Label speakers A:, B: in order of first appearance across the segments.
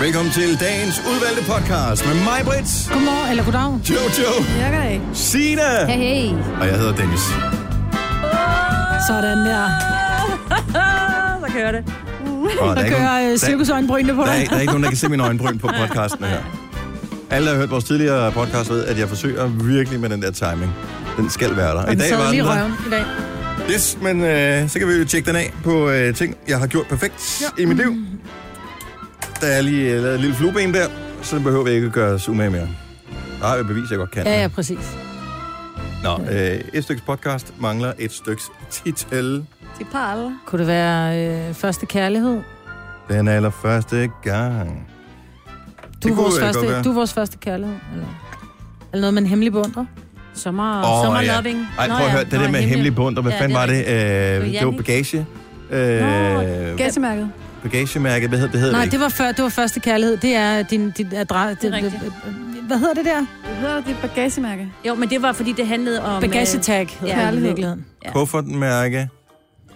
A: Velkommen til dagens udvalgte podcast med mig, Brits,
B: Godmorgen, eller goddag.
A: Jojo,
C: Virker det ikke?
A: Sina
B: Hey, hey.
A: og jeg hedder Dennis.
B: Sådan der.
C: Ah, så kører det.
A: Og der
B: Der
A: er ikke nogen-
B: kører øh,
A: der-
B: cirkusøjenbrynene på
A: Der er,
B: dig.
A: der er ikke nogen, der kan se mine øjenbryn på podcasten her. Alle, der har hørt vores tidligere podcast, ved, at jeg forsøger virkelig med den der timing. Den skal være der.
B: Og den sad lige i
A: der.
B: røven i dag.
A: Yes, men øh, så kan vi jo tjekke den af på øh, ting, jeg har gjort perfekt ja. i mit liv.
B: Mm.
A: Der er lige øh, lavet et lille flueben der, så den behøver jeg ikke at gøre os umage mere. Der har jeg bevis, jeg godt kan.
B: Ja, ja, præcis.
A: Nå, øh, et styks podcast mangler et styks titel.
C: De parl.
B: Kunne det være øh, første kærlighed?
A: Den allerførste gang.
B: Du er,
A: kunne,
B: vores
A: øh, godt være.
B: første, du er vores første kærlighed. Eller, eller noget, man hemmelig beundrer.
C: Sommer,
A: Åh,
C: oh, sommer
A: ja.
C: loving.
A: Ej, prøv at høre, det der med hemmelig bund, og hvad
C: Ja,
A: fanden
C: det
A: var
C: er
A: det? Øh,
C: Det
A: det var
C: var
A: bagage.
C: Nå,
A: Øh,
C: Gassemærket.
A: bagagemærket, hvad hed det? Hed
B: Nej,
A: det
B: det var før, det var første kærlighed. Det er din, din adresse.
D: Det er rigtigt.
B: øh, Hvad hedder det der?
C: Hvad hedder det? Bagagemærke.
D: Jo, men det var, fordi det handlede om... øh,
B: Bagagetag hedder det i
C: kærlighed.
B: virkeligheden.
D: ja.
A: Kuffertmærke.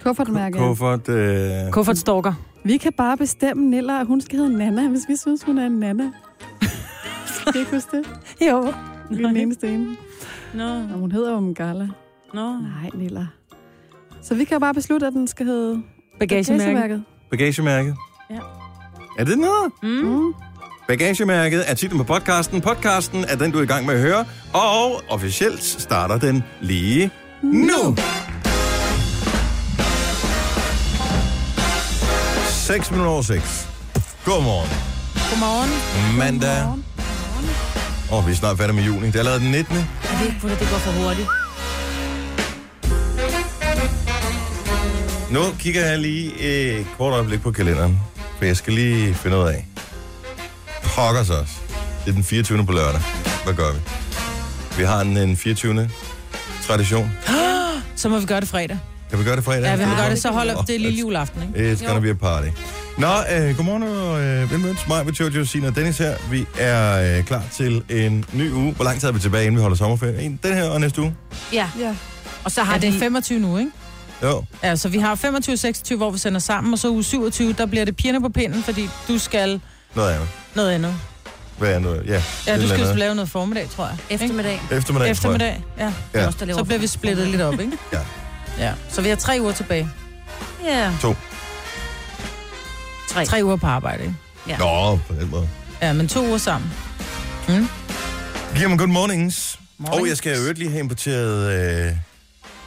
C: Kuffertmærke.
A: Kuffert. Øh,
B: Kuffertstalker.
C: Vi kan bare bestemme Nilla, at hun skal hedde Nana, hvis vi synes, hun er en Nana. Kan I ikke huske det?
B: Jo.
C: Vi er den eneste ene.
D: Nå,
C: Nå, hun hedder jo Mgala.
D: nå.
C: Nej, Nilla. Så vi kan jo bare beslutte, at den skal hedde
B: Bagagemærke.
C: Bagagemærket.
A: bagagemærket.
D: Ja.
A: Er det noget?
D: Mm.
C: Mm.
A: Bagagemærket er titlen på podcasten. Podcasten er den, du er i gang med at høre. Og officielt starter den lige nu. 6 minutter over 6. Godmorgen.
B: Godmorgen.
A: Mandag. Og vi er snart færdige med juni. Det er allerede den 19.
D: Jeg ved ikke, hvordan det går for hurtigt.
A: Nu kigger jeg lige et kort øjeblik på kalenderen, for jeg skal lige finde ud af. Pokkers os. Det er den 24. på lørdag. Hvad gør vi? Vi har en, en 24. tradition.
B: Så må vi gøre det fredag.
A: Kan vi gøre det fredag?
B: Ja, vi må gøre det, så holder
A: Åh,
B: det lille juleaften, ikke?
A: It's gonna be a party. Nå, øh, godmorgen og øh, velmødt. Mig med Jojo, Signe og Dennis her. Vi er øh, klar til en ny uge. Hvor lang tid er vi tilbage, inden vi holder sommerferie? En, den her og næste uge?
D: Ja,
C: Ja.
D: og så har
B: Ja, det er
D: de...
B: 25 nu, ikke?
A: Jo.
B: Ja, så vi har 25-26, hvor vi sender sammen, og så uge 27, der bliver det pigerne på pinden, fordi du skal
A: Noget andet.
B: noget andet.
A: Hvad er det? Ja,
B: Ja,
A: et
B: du
A: eller
B: skal
A: andet.
B: lave noget formiddag, tror jeg.
D: Eftermiddag.
A: Eftermiddag, Eftermiddag.
B: Eftermiddag, ja.
D: Det
A: Ja.
D: er Også, der laver
B: Så bliver vi splittet lidt op, ikke?
A: Ja.
B: Ja, så vi har tre uger tilbage.
D: Ja.
A: To.
D: Tre.
B: Tre uger på arbejde, ikke?
A: Nå, på den måde.
B: Ja, men to uger sammen. Mm.
A: Jamen, good mornings.
B: Mornings.
A: Og jeg skal i øvrigt lige have importeret øh,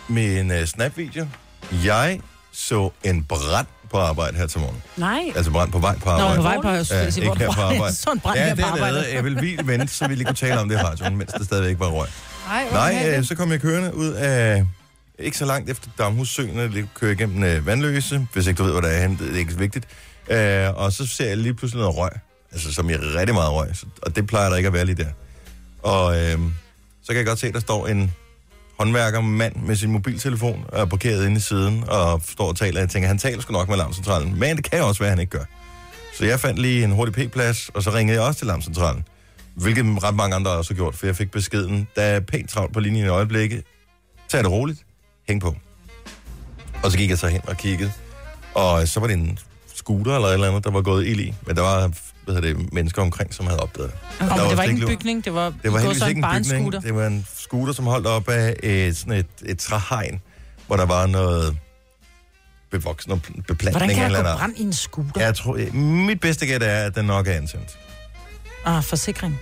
A: min øh, snapvideo. Jeg så en brand på arbejde her til morgen.
D: Nej.
A: Altså brand på vej på
B: Nå,
A: arbejde.
B: på vej på, jeg skulle sige,
A: ikke
B: hvor
A: her på
B: du
A: arbejde.
B: Sådan brand
A: ja,
B: her
A: det
B: på arbejde.
A: er Jeg vil lige vente, så vi lige kunne tale om det i radioen, mens der stadigvæk var røg.
C: Nej,
A: Nej, øh, så kom jeg kørende ud af... Ikke så langt efter Damhussøen, og lige kører igennem øh, Vandløse, hvis ikke du ved, hvor det er henne, det er ikke så vigtigt. Øh, og så ser jeg lige pludselig noget røg, altså som i rigtig meget røg, så, og det plejer der ikke at være lige der. Og øh, så kan jeg godt se, at der står en håndværkermand med sin mobiltelefon og er parkeret inde i siden og står og taler. Jeg tænker, han taler sgu nok med alarmcentralen, men det kan jo også være, at han ikke gør. Så jeg fandt lige en hurtig p-plads, og så ringede jeg også til alarmcentralen. Hvilket ret mange andre også har gjort, for jeg fik beskeden, der er pænt travlt på linjen i øjeblikket. Tag det roligt. Hæng på. Og så gik jeg så hen og kiggede. Og så var det en scooter eller et eller andet, der var gået ild i. Men der var hvad hedder det, mennesker omkring, som havde opdaget det.
B: Nå,
A: Der
B: men det
A: var
B: var ikke
A: stikliver.
B: en bygning, det var,
A: Det var
B: det
A: heldigvis
B: sådan
A: ikke
B: bare
A: en bygning.
B: scooter.
A: Det var en scooter, som holdt op af et, sådan et, et træhegn, hvor der var noget bevoksen og pl-
B: Hvordan
A: beplantning
B: kan
A: eller
B: der
A: noget.
B: gå brand i en scooter?
A: Jeg tror, eh, mit bedste gæt er, at den nok er antændt.
B: Ah, forsikring.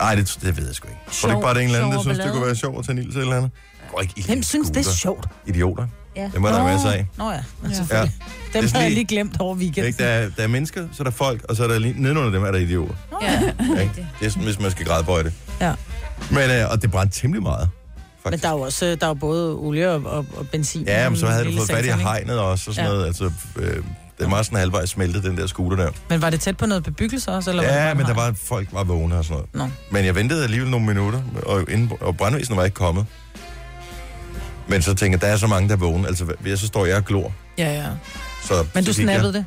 A: Nej, det, det ved jeg sgu ikke. Tror du ikke
D: Sjov-
A: bare, det er en eller anden, der
D: sjov
A: synes, det
D: ballade.
A: kunne være sjovt at tage en ild til et eller andet? Går ikke ild i
B: Hvem
A: en
B: synes, det er
A: scooter.
B: sjovt?
A: Idioter.
D: Ja.
A: Det må der
B: Nå.
A: være masser af.
B: Nå ja, men
C: Ja.
B: selvfølgelig. Dem
A: Det er
B: havde jeg
A: lige-
B: lige glemt over weekenden.
A: Ikke? Der, er, der er mennesker, så er der folk, og så er der lige nedenunder dem, er der idioter.
D: Ja,
A: Ikke? Det er sådan, hvis man skal grædbøje det.
B: Ja.
A: Men, øh, og det brændte temmelig meget.
B: Men
A: Faktisk.
B: der er jo også øh, der er jo både olie og, og, og benzin.
A: Ja, men så
B: i
A: havde du
B: hele
A: fået fat i
B: sektoren, Mm, ikke?
A: hegnet også og sådan
B: Ja.
A: noget. Altså, øh, den var sådan halvvejs smeltet, den der scooter der.
B: Men var det tæt på noget bebyggelse også? Eller var det
A: Ja,
B: bare
A: men
B: en
A: der
B: hegn?
A: var, folk var vågne og sådan noget.
B: Nå.
A: Men jeg ventede alligevel nogle minutter, og, inden, og brandvæsenet var ikke kommet. Men så tænker jeg, der er så mange, der er vågne. Altså, hvad- så står jeg og glor.
B: Ja, ja.
A: Så,
B: Men
A: så
B: du
A: gik jeg.
B: snappede det?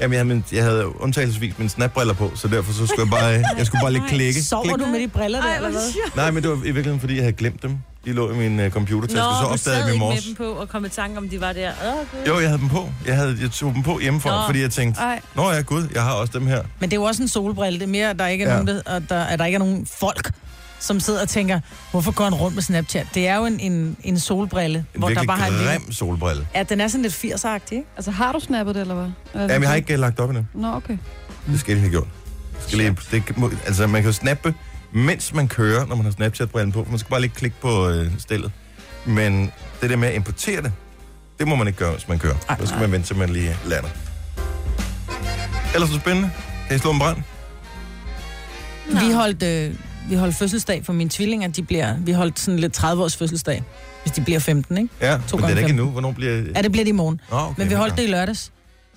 A: Jamen, jeg, men, jeg havde undtagelsesvis mine snapbriller på, så derfor så skulle øh, jeg bare, jeg skulle bare lige klikke.
B: Sover
A: Klik.
B: du med de briller der, eller hvad?
A: Nej, men det var i virkeligheden, fordi jeg havde glemt dem. De lå i min uh, computertaske, så
D: Nå, du
A: opdagede jeg
D: sad
A: dem i
D: ikke med
A: morges.
D: dem på og kom i tanke om, de var der. Åh, Gud.
A: Jo, jeg havde dem på. Jeg, havde, jeg tog dem på hjemmefra,
D: Nå.
A: fordi jeg tænkte,
C: Ej.
A: Nå ja, gud, jeg har også dem her.
B: Men det er jo også en solbrille. Det er mere, at der ikke er,
A: Ja.
B: ja. nogen, der, at der, at der ikke er nogen folk, som sidder og tænker, hvorfor går han rundt med Snapchat? Det er jo en, en, en solbrille,
A: En
B: hvor der
A: virkelig
B: bare har en lille...
A: grim solbrille.
B: Ja, den er sådan lidt 80-agtig, ikke?
C: Altså, har du snappet det, eller hvad? Eller,
A: Jamen, jeg har ikke øh, lagt op endnu.
C: Nå, okay.
A: Det skal jeg lige have gjort. Jeg Skal lige, det, må- altså, man kan jo snappe, mens man kører, når man har Snapchat-brillen på. Man skal bare lige klikke på øh, stillet. Men det der med at importere det, det må man ikke gøre, hvis man kører.
B: Ej,
A: Så skal
B: nej.
A: man vente, til man lige lander. Ellers er det spændende. Kan I slå en brand?
D: Nå.
B: Vi holdt, øh, vi holdt fødselsdag for mine tvillinger. De bliver, vi holdt sådan lidt 30-års fødselsdag, hvis de bliver 15, ikke?
A: Ja,
B: To
A: men det er
B: gange
A: da ikke
B: fem.
A: endnu. Hvornår bliver...
B: Ja, det bliver de i morgen.
A: Nå, okay,
B: Men vi holdt det
A: godt.
B: i lørdags.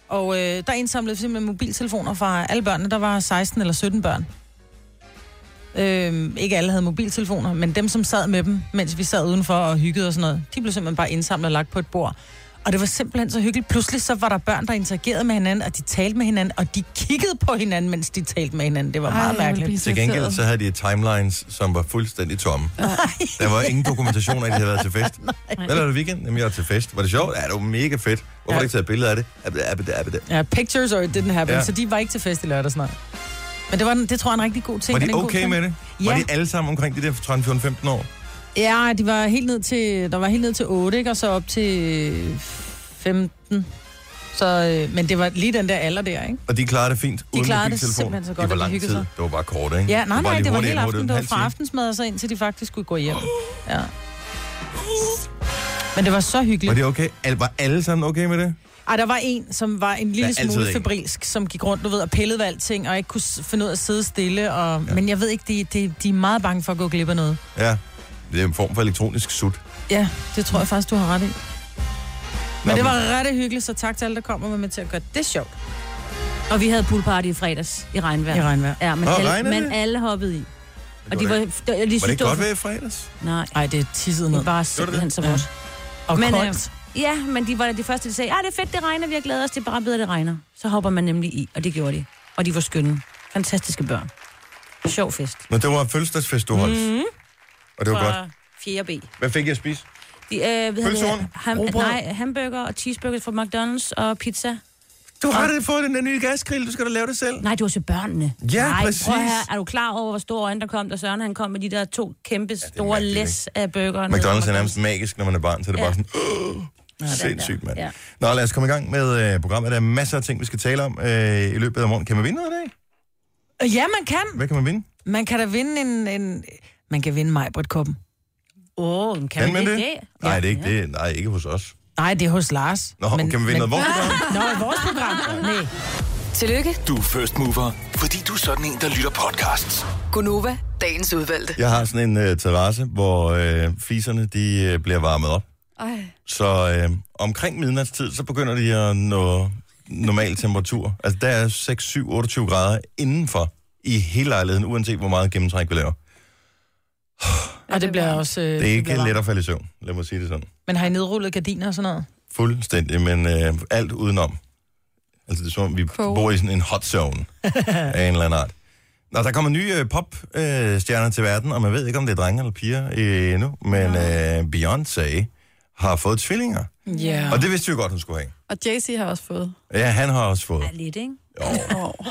B: Og øh, der indsamlede vi simpelthen mobiltelefoner fra alle børnene. Der var 16 eller 17 børn. Øhm, ikke alle havde mobiltelefoner, men dem, som sad med dem, mens vi sad udenfor og hyggede og sådan noget, de blev simpelthen bare indsamlet og lagt på et bord. Og det var simpelthen så hyggeligt. Pludselig så var der børn, der interagerede med hinanden, og de talte med hinanden, og de kiggede på hinanden, mens de talte med hinanden. Det var meget
C: jeg vil
B: mærkeligt.
C: blive så
A: Til gengæld
C: irriteret.
A: så havde de timelines, som var fuldstændig tomme. Der var ingen dokumentation af, at de havde været til fest. Hvad lavede du i weekenden? Jamen, jeg var til fest. Var det sjovt? Ja, det var mega fedt. Hvorfor har
B: Ja.
A: du ikke taget billeder af det? Abbe, abbe, abbe, abbe.
B: Ja, pictures or it didn't happen,
A: Ja.
B: ja. så de var ikke til fest i lørdags, nej. Men det, var, en- det tror jeg er en rigtig god ting.
A: Var
B: Er
A: de
B: det en god
A: okay
B: ting?
A: med det?
B: Ja.
A: Var de alle sammen omkring de der 13-14-15 år?
B: Ja, de var helt ned til, der var helt ned til 8, ikke? og så op til 15. Så, øh, men det var lige den der alder der, ikke?
A: Og de klarede det fint? De uden
B: klarede det
A: mobiltelefon?
B: simpelthen så godt,
A: Det var
B: at de
A: lang tid.
B: hyggede
A: Det
B: sig.
A: var bare kort, ikke?
B: Ja, nej, nej,
A: lige
B: det var
A: hurtigt
B: hele
A: ind, hurtigt
B: aften.
A: en
B: Det var
A: halv
B: fra
A: time.
B: aftensmad og så indtil de faktisk skulle gå hjem. Ja. Men det var så hyggeligt.
A: Var det okay? Al- var alle sammen okay med det?
B: Ej, der var en, som var en lille
A: Der er altid
B: smule
A: en.
B: febrilsk, som gik rundt, du ved, og pillede ved alting, og ikke kunne s- finde ud af at sidde stille. Og, ja. Men jeg ved ikke, de, de, de er meget bange for at gå glip af noget.
A: Ja. Det er en form for elektronisk sut.
B: Ja, det tror jeg faktisk, du har ret i. Men
A: Nå,
B: det var ret hyggeligt, så tak til alle, der kommer med, med til at gøre det sjovt
D: Og vi havde poolparty i fredags i regnvejr.
B: i regnvejr.
D: Ja, men,
A: Nå,
D: alle,
A: regnede det?
D: men alle hoppede i. Og de
A: var,
D: var,
A: det,
D: de, de
A: var det
D: synes,
A: ikke
D: det var,
A: godt ved i fredags?
D: Nej,
B: Nej, det er tisset ned.
D: det var simpelthen så
B: Ja.
D: godt.
B: Og
D: Men,
B: men,
D: øh,
B: koldt.
D: Ja, men de var de første, der sagde, at det er fedt, det regner, vi har glædet os, det er bare bedre, det regner. Så hopper man nemlig i, og det gjorde de. Og de var skønne. Fantastiske børn. øh, Sjov fest.
A: Men det var en fødselsdagsfest,
B: Mm.
A: du holdt.
B: Mhm.
A: Mm-hmm. Og det var godt.
D: 4B.
A: Hvad fik jeg at spise?
D: De, øh, hvad hedder
A: Pølsehorn?
D: det? Ham,
A: Rugbrød?
D: nej, hamburger og cheeseburger fra McDonald's og pizza.
A: Du har det fået den der nye gasgrill, du skal da lave det selv.
D: Nej, det var til børnene.
A: Ja,
D: Nej,
A: præcis.
D: Prøv her. Er du klar over, hvor store øjne der kom, da Søren han kom med de der to kæmpe store
A: mærkeligt,
D: læs af burgere? ned
A: McDonald's
D: fra
A: er nærmest magisk, når man er barn, så det er bare
D: Ja.
A: sådan, åh,
D: den
A: sindssygt,
D: der.
A: mand.
D: Ja.
A: Nå, lad os komme i gang med øh, programmet. Der er masser af ting, vi skal tale om øh, i løbet af morgen. Kan man vinde noget i dag?
B: Øh, Ja, man kan.
A: Hvad kan man vinde?
B: Man kan da vinde en... en man kan vinde Majbrit-koppen.
D: Åh, oh, kan,
A: Kan
D: man
A: man
D: det?
A: det? Nej, det er ikke det. Nej, ikke hos os.
B: Nej, det er hos Lars.
A: Nå, kan man vinde noget vores program?
B: Nå, i vores program. Nej.
E: Tillykke,
F: Du er first mover, fordi du er sådan en, der lytter podcasts.
E: Gunova, dagens udvalgte.
A: Jeg har sådan en øh, terrasse, hvor øh, fiserne de, øh, bliver varmet op.
C: Ej.
A: Så øh, omkring midnatstid, så begynder de at nå normal temperatur. Altså, der er 6, 7, 28 grader indenfor i hele lejligheden, uanset hvor meget gennemtræk vi laver.
B: Og det bliver også... Øh,
A: Det er
B: bliver
A: ikke
B: varmt.
A: let at falde i søvn, lad mig sige det sådan.
B: Men har I nedrullet gardiner og sådan noget?
A: Fuldstændig, men øh, alt udenom. Altså, det er som om, vi
C: Cool.
A: bor i sådan en hot zone af en eller anden art. Nå, der kommer nye øh, popstjerner øh, stjerner til verden, og man ved ikke, om det er drenge eller piger øh, endnu, men øh, Beyoncé har fået tvillinger.
B: Ja.
A: Og det vidste vi jo godt, hun skulle have.
C: Og Jay-Z har også fået.
A: Ja, han har også fået.
D: Ja, lidt, ikke?
A: Jo.
C: Oh.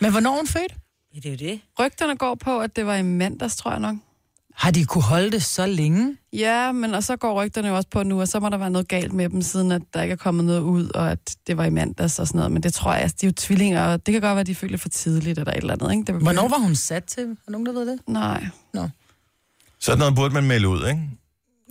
B: Men hvornår er hun født?
D: Ja, det er jo det.
C: Rygterne går på, at det var i mandags, tror jeg nok.
B: Har de kunne holde det så længe?
C: Ja, men og så går rygterne jo også på nu, og så må der være noget galt med dem, siden at der ikke er kommet noget ud, og at det var i mandags og sådan noget. Men det tror jeg, altså, de er jo tvillinger, og det kan godt være, at de føler for tidligt eller et eller andet. Ikke? Det
B: Hvornår var hun sat til? Er der nogen, der ved det?
C: Nej.
A: Sådan noget burde man melde ud, ikke?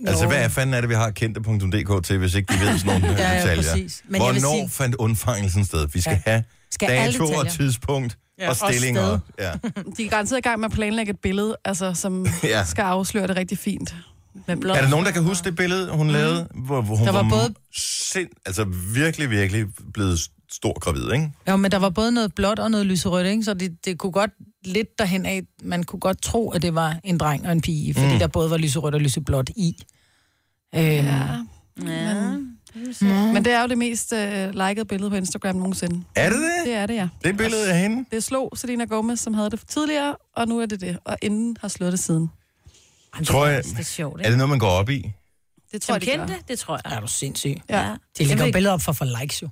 A: Altså, hvad fanden er det, vi har kendte.dk til, hvis ikke de ved sådan nogle
B: Ja, ja,
A: detaljer?
B: præcis. Men jeg vil
A: Hvornår
B: sige-
A: fandt undfangelsen sted? Vi skal
B: Ja.
A: ja. have
B: Skal alle
A: dato og
B: detaljer.
A: tidspunkt ja,
B: Ja,
A: og
B: og
A: stillinger.
B: sted.
A: ja.
C: De er garanteret i gang med at planlægge et billede, altså, som
A: Ja.
C: ja. skal afsløre det rigtig fint.
D: Med blå.
A: Er der nogen, der kan huske det billede, hun lavede? Hvor, hvor hun
B: Der var
A: var
B: både-
A: Sind, altså virkelig, virkelig blevet stor gravid, ikke?
B: Jo, men der var både noget blåt og noget lyserødt, ikke? Så det, det kunne godt lidt derhen af, man kunne godt tro, at det var en dreng og en pige, fordi mm. der både var lyserødt og lyseblåt i. Øh, ja.
D: Ja.
C: Men det er jo det mest øh, likede billede på Instagram nogensinde.
A: Er det det?
C: Det er det, ja.
A: Det billede af hende?
C: Det slog Selena Gomez, som havde det tidligere, og nu er det det. Og inden har slået det siden.
D: Ej,
A: Tror
D: det er-
A: jeg-
D: Det er sjovt,
A: Er
D: ikke?
A: det noget, man går op i?
C: Det
D: Som
C: tror jeg, de gør.
D: kendte, det tror jeg.
B: Er du sindssyg?
D: Ja.
B: De lægger jo
D: vil-
B: billeder op for at få likes jo.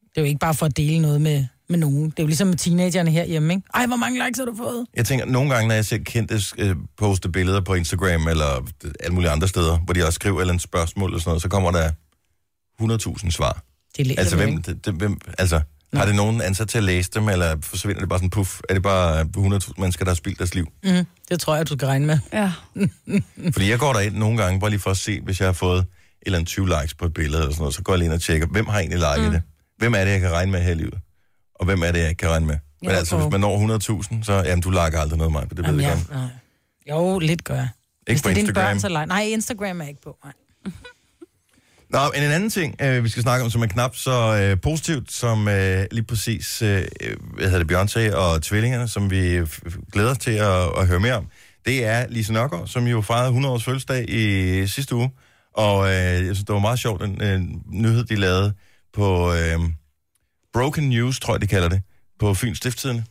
B: Det er jo ikke bare for at dele noget med, med nogen. Det er jo ligesom med teenagerne herhjemme, ikke? Ej, hvor mange likes har du fået?
A: Jeg tænker, nogle gange, når jeg ser kendte øh, poste billeder på Instagram eller alle mulige andre steder, hvor de også skriver et eller andet spørgsmål eller sådan noget, så kommer der 100.000 svar.
B: Det læser
A: Altså,
B: vi jo
A: hvem,
B: ikke.
A: det, det, hvem, altså har det nogen ansat til at læse dem, eller forsvinder det bare sådan puff? Er det bare 100.000 mennesker, der har spildt deres liv?
B: Mm, det tror jeg, du skal regne med.
C: Ja.
A: Fordi jeg går derind nogle gange, bare lige for at se, hvis jeg har fået et eller andet 20 likes på et billede eller sådan noget, så går jeg lige ind og tjekker, hvem har egentlig liket mm. det? Hvem er det, jeg kan regne med her i livet? Og hvem er det, jeg ikke kan regne med? Men
B: Ja,
A: altså,
B: og-
A: hvis man når 100.000, så jamen, du liker aldrig noget af mig, det ved jeg
B: Jamen,
A: ja.
B: ja,
A: gerne.
B: nej. Jo, lidt gør jeg.
A: Ikke
B: Hvis
A: på
B: det er dine
A: Instagram.
B: børn, så like. Nej, Instagram er jeg ikke på. Nej.
A: Nå, men en anden ting, øh, vi skal snakke om, som er knap så øh, positivt, som øh, lige præcis, øh, hvad hedder det, Beyoncé og tvillingerne, som vi øh, f- glæder os til at, at høre mere om, det er Lise Nørgaard, som jo fejrede 100 års fødselsdag i sidste uge, og øh, jeg synes, det var meget sjovt, den øh, nyhed, de lavede på øh, Broken News, tror jeg, de kalder det, på Fyns Stifttidende,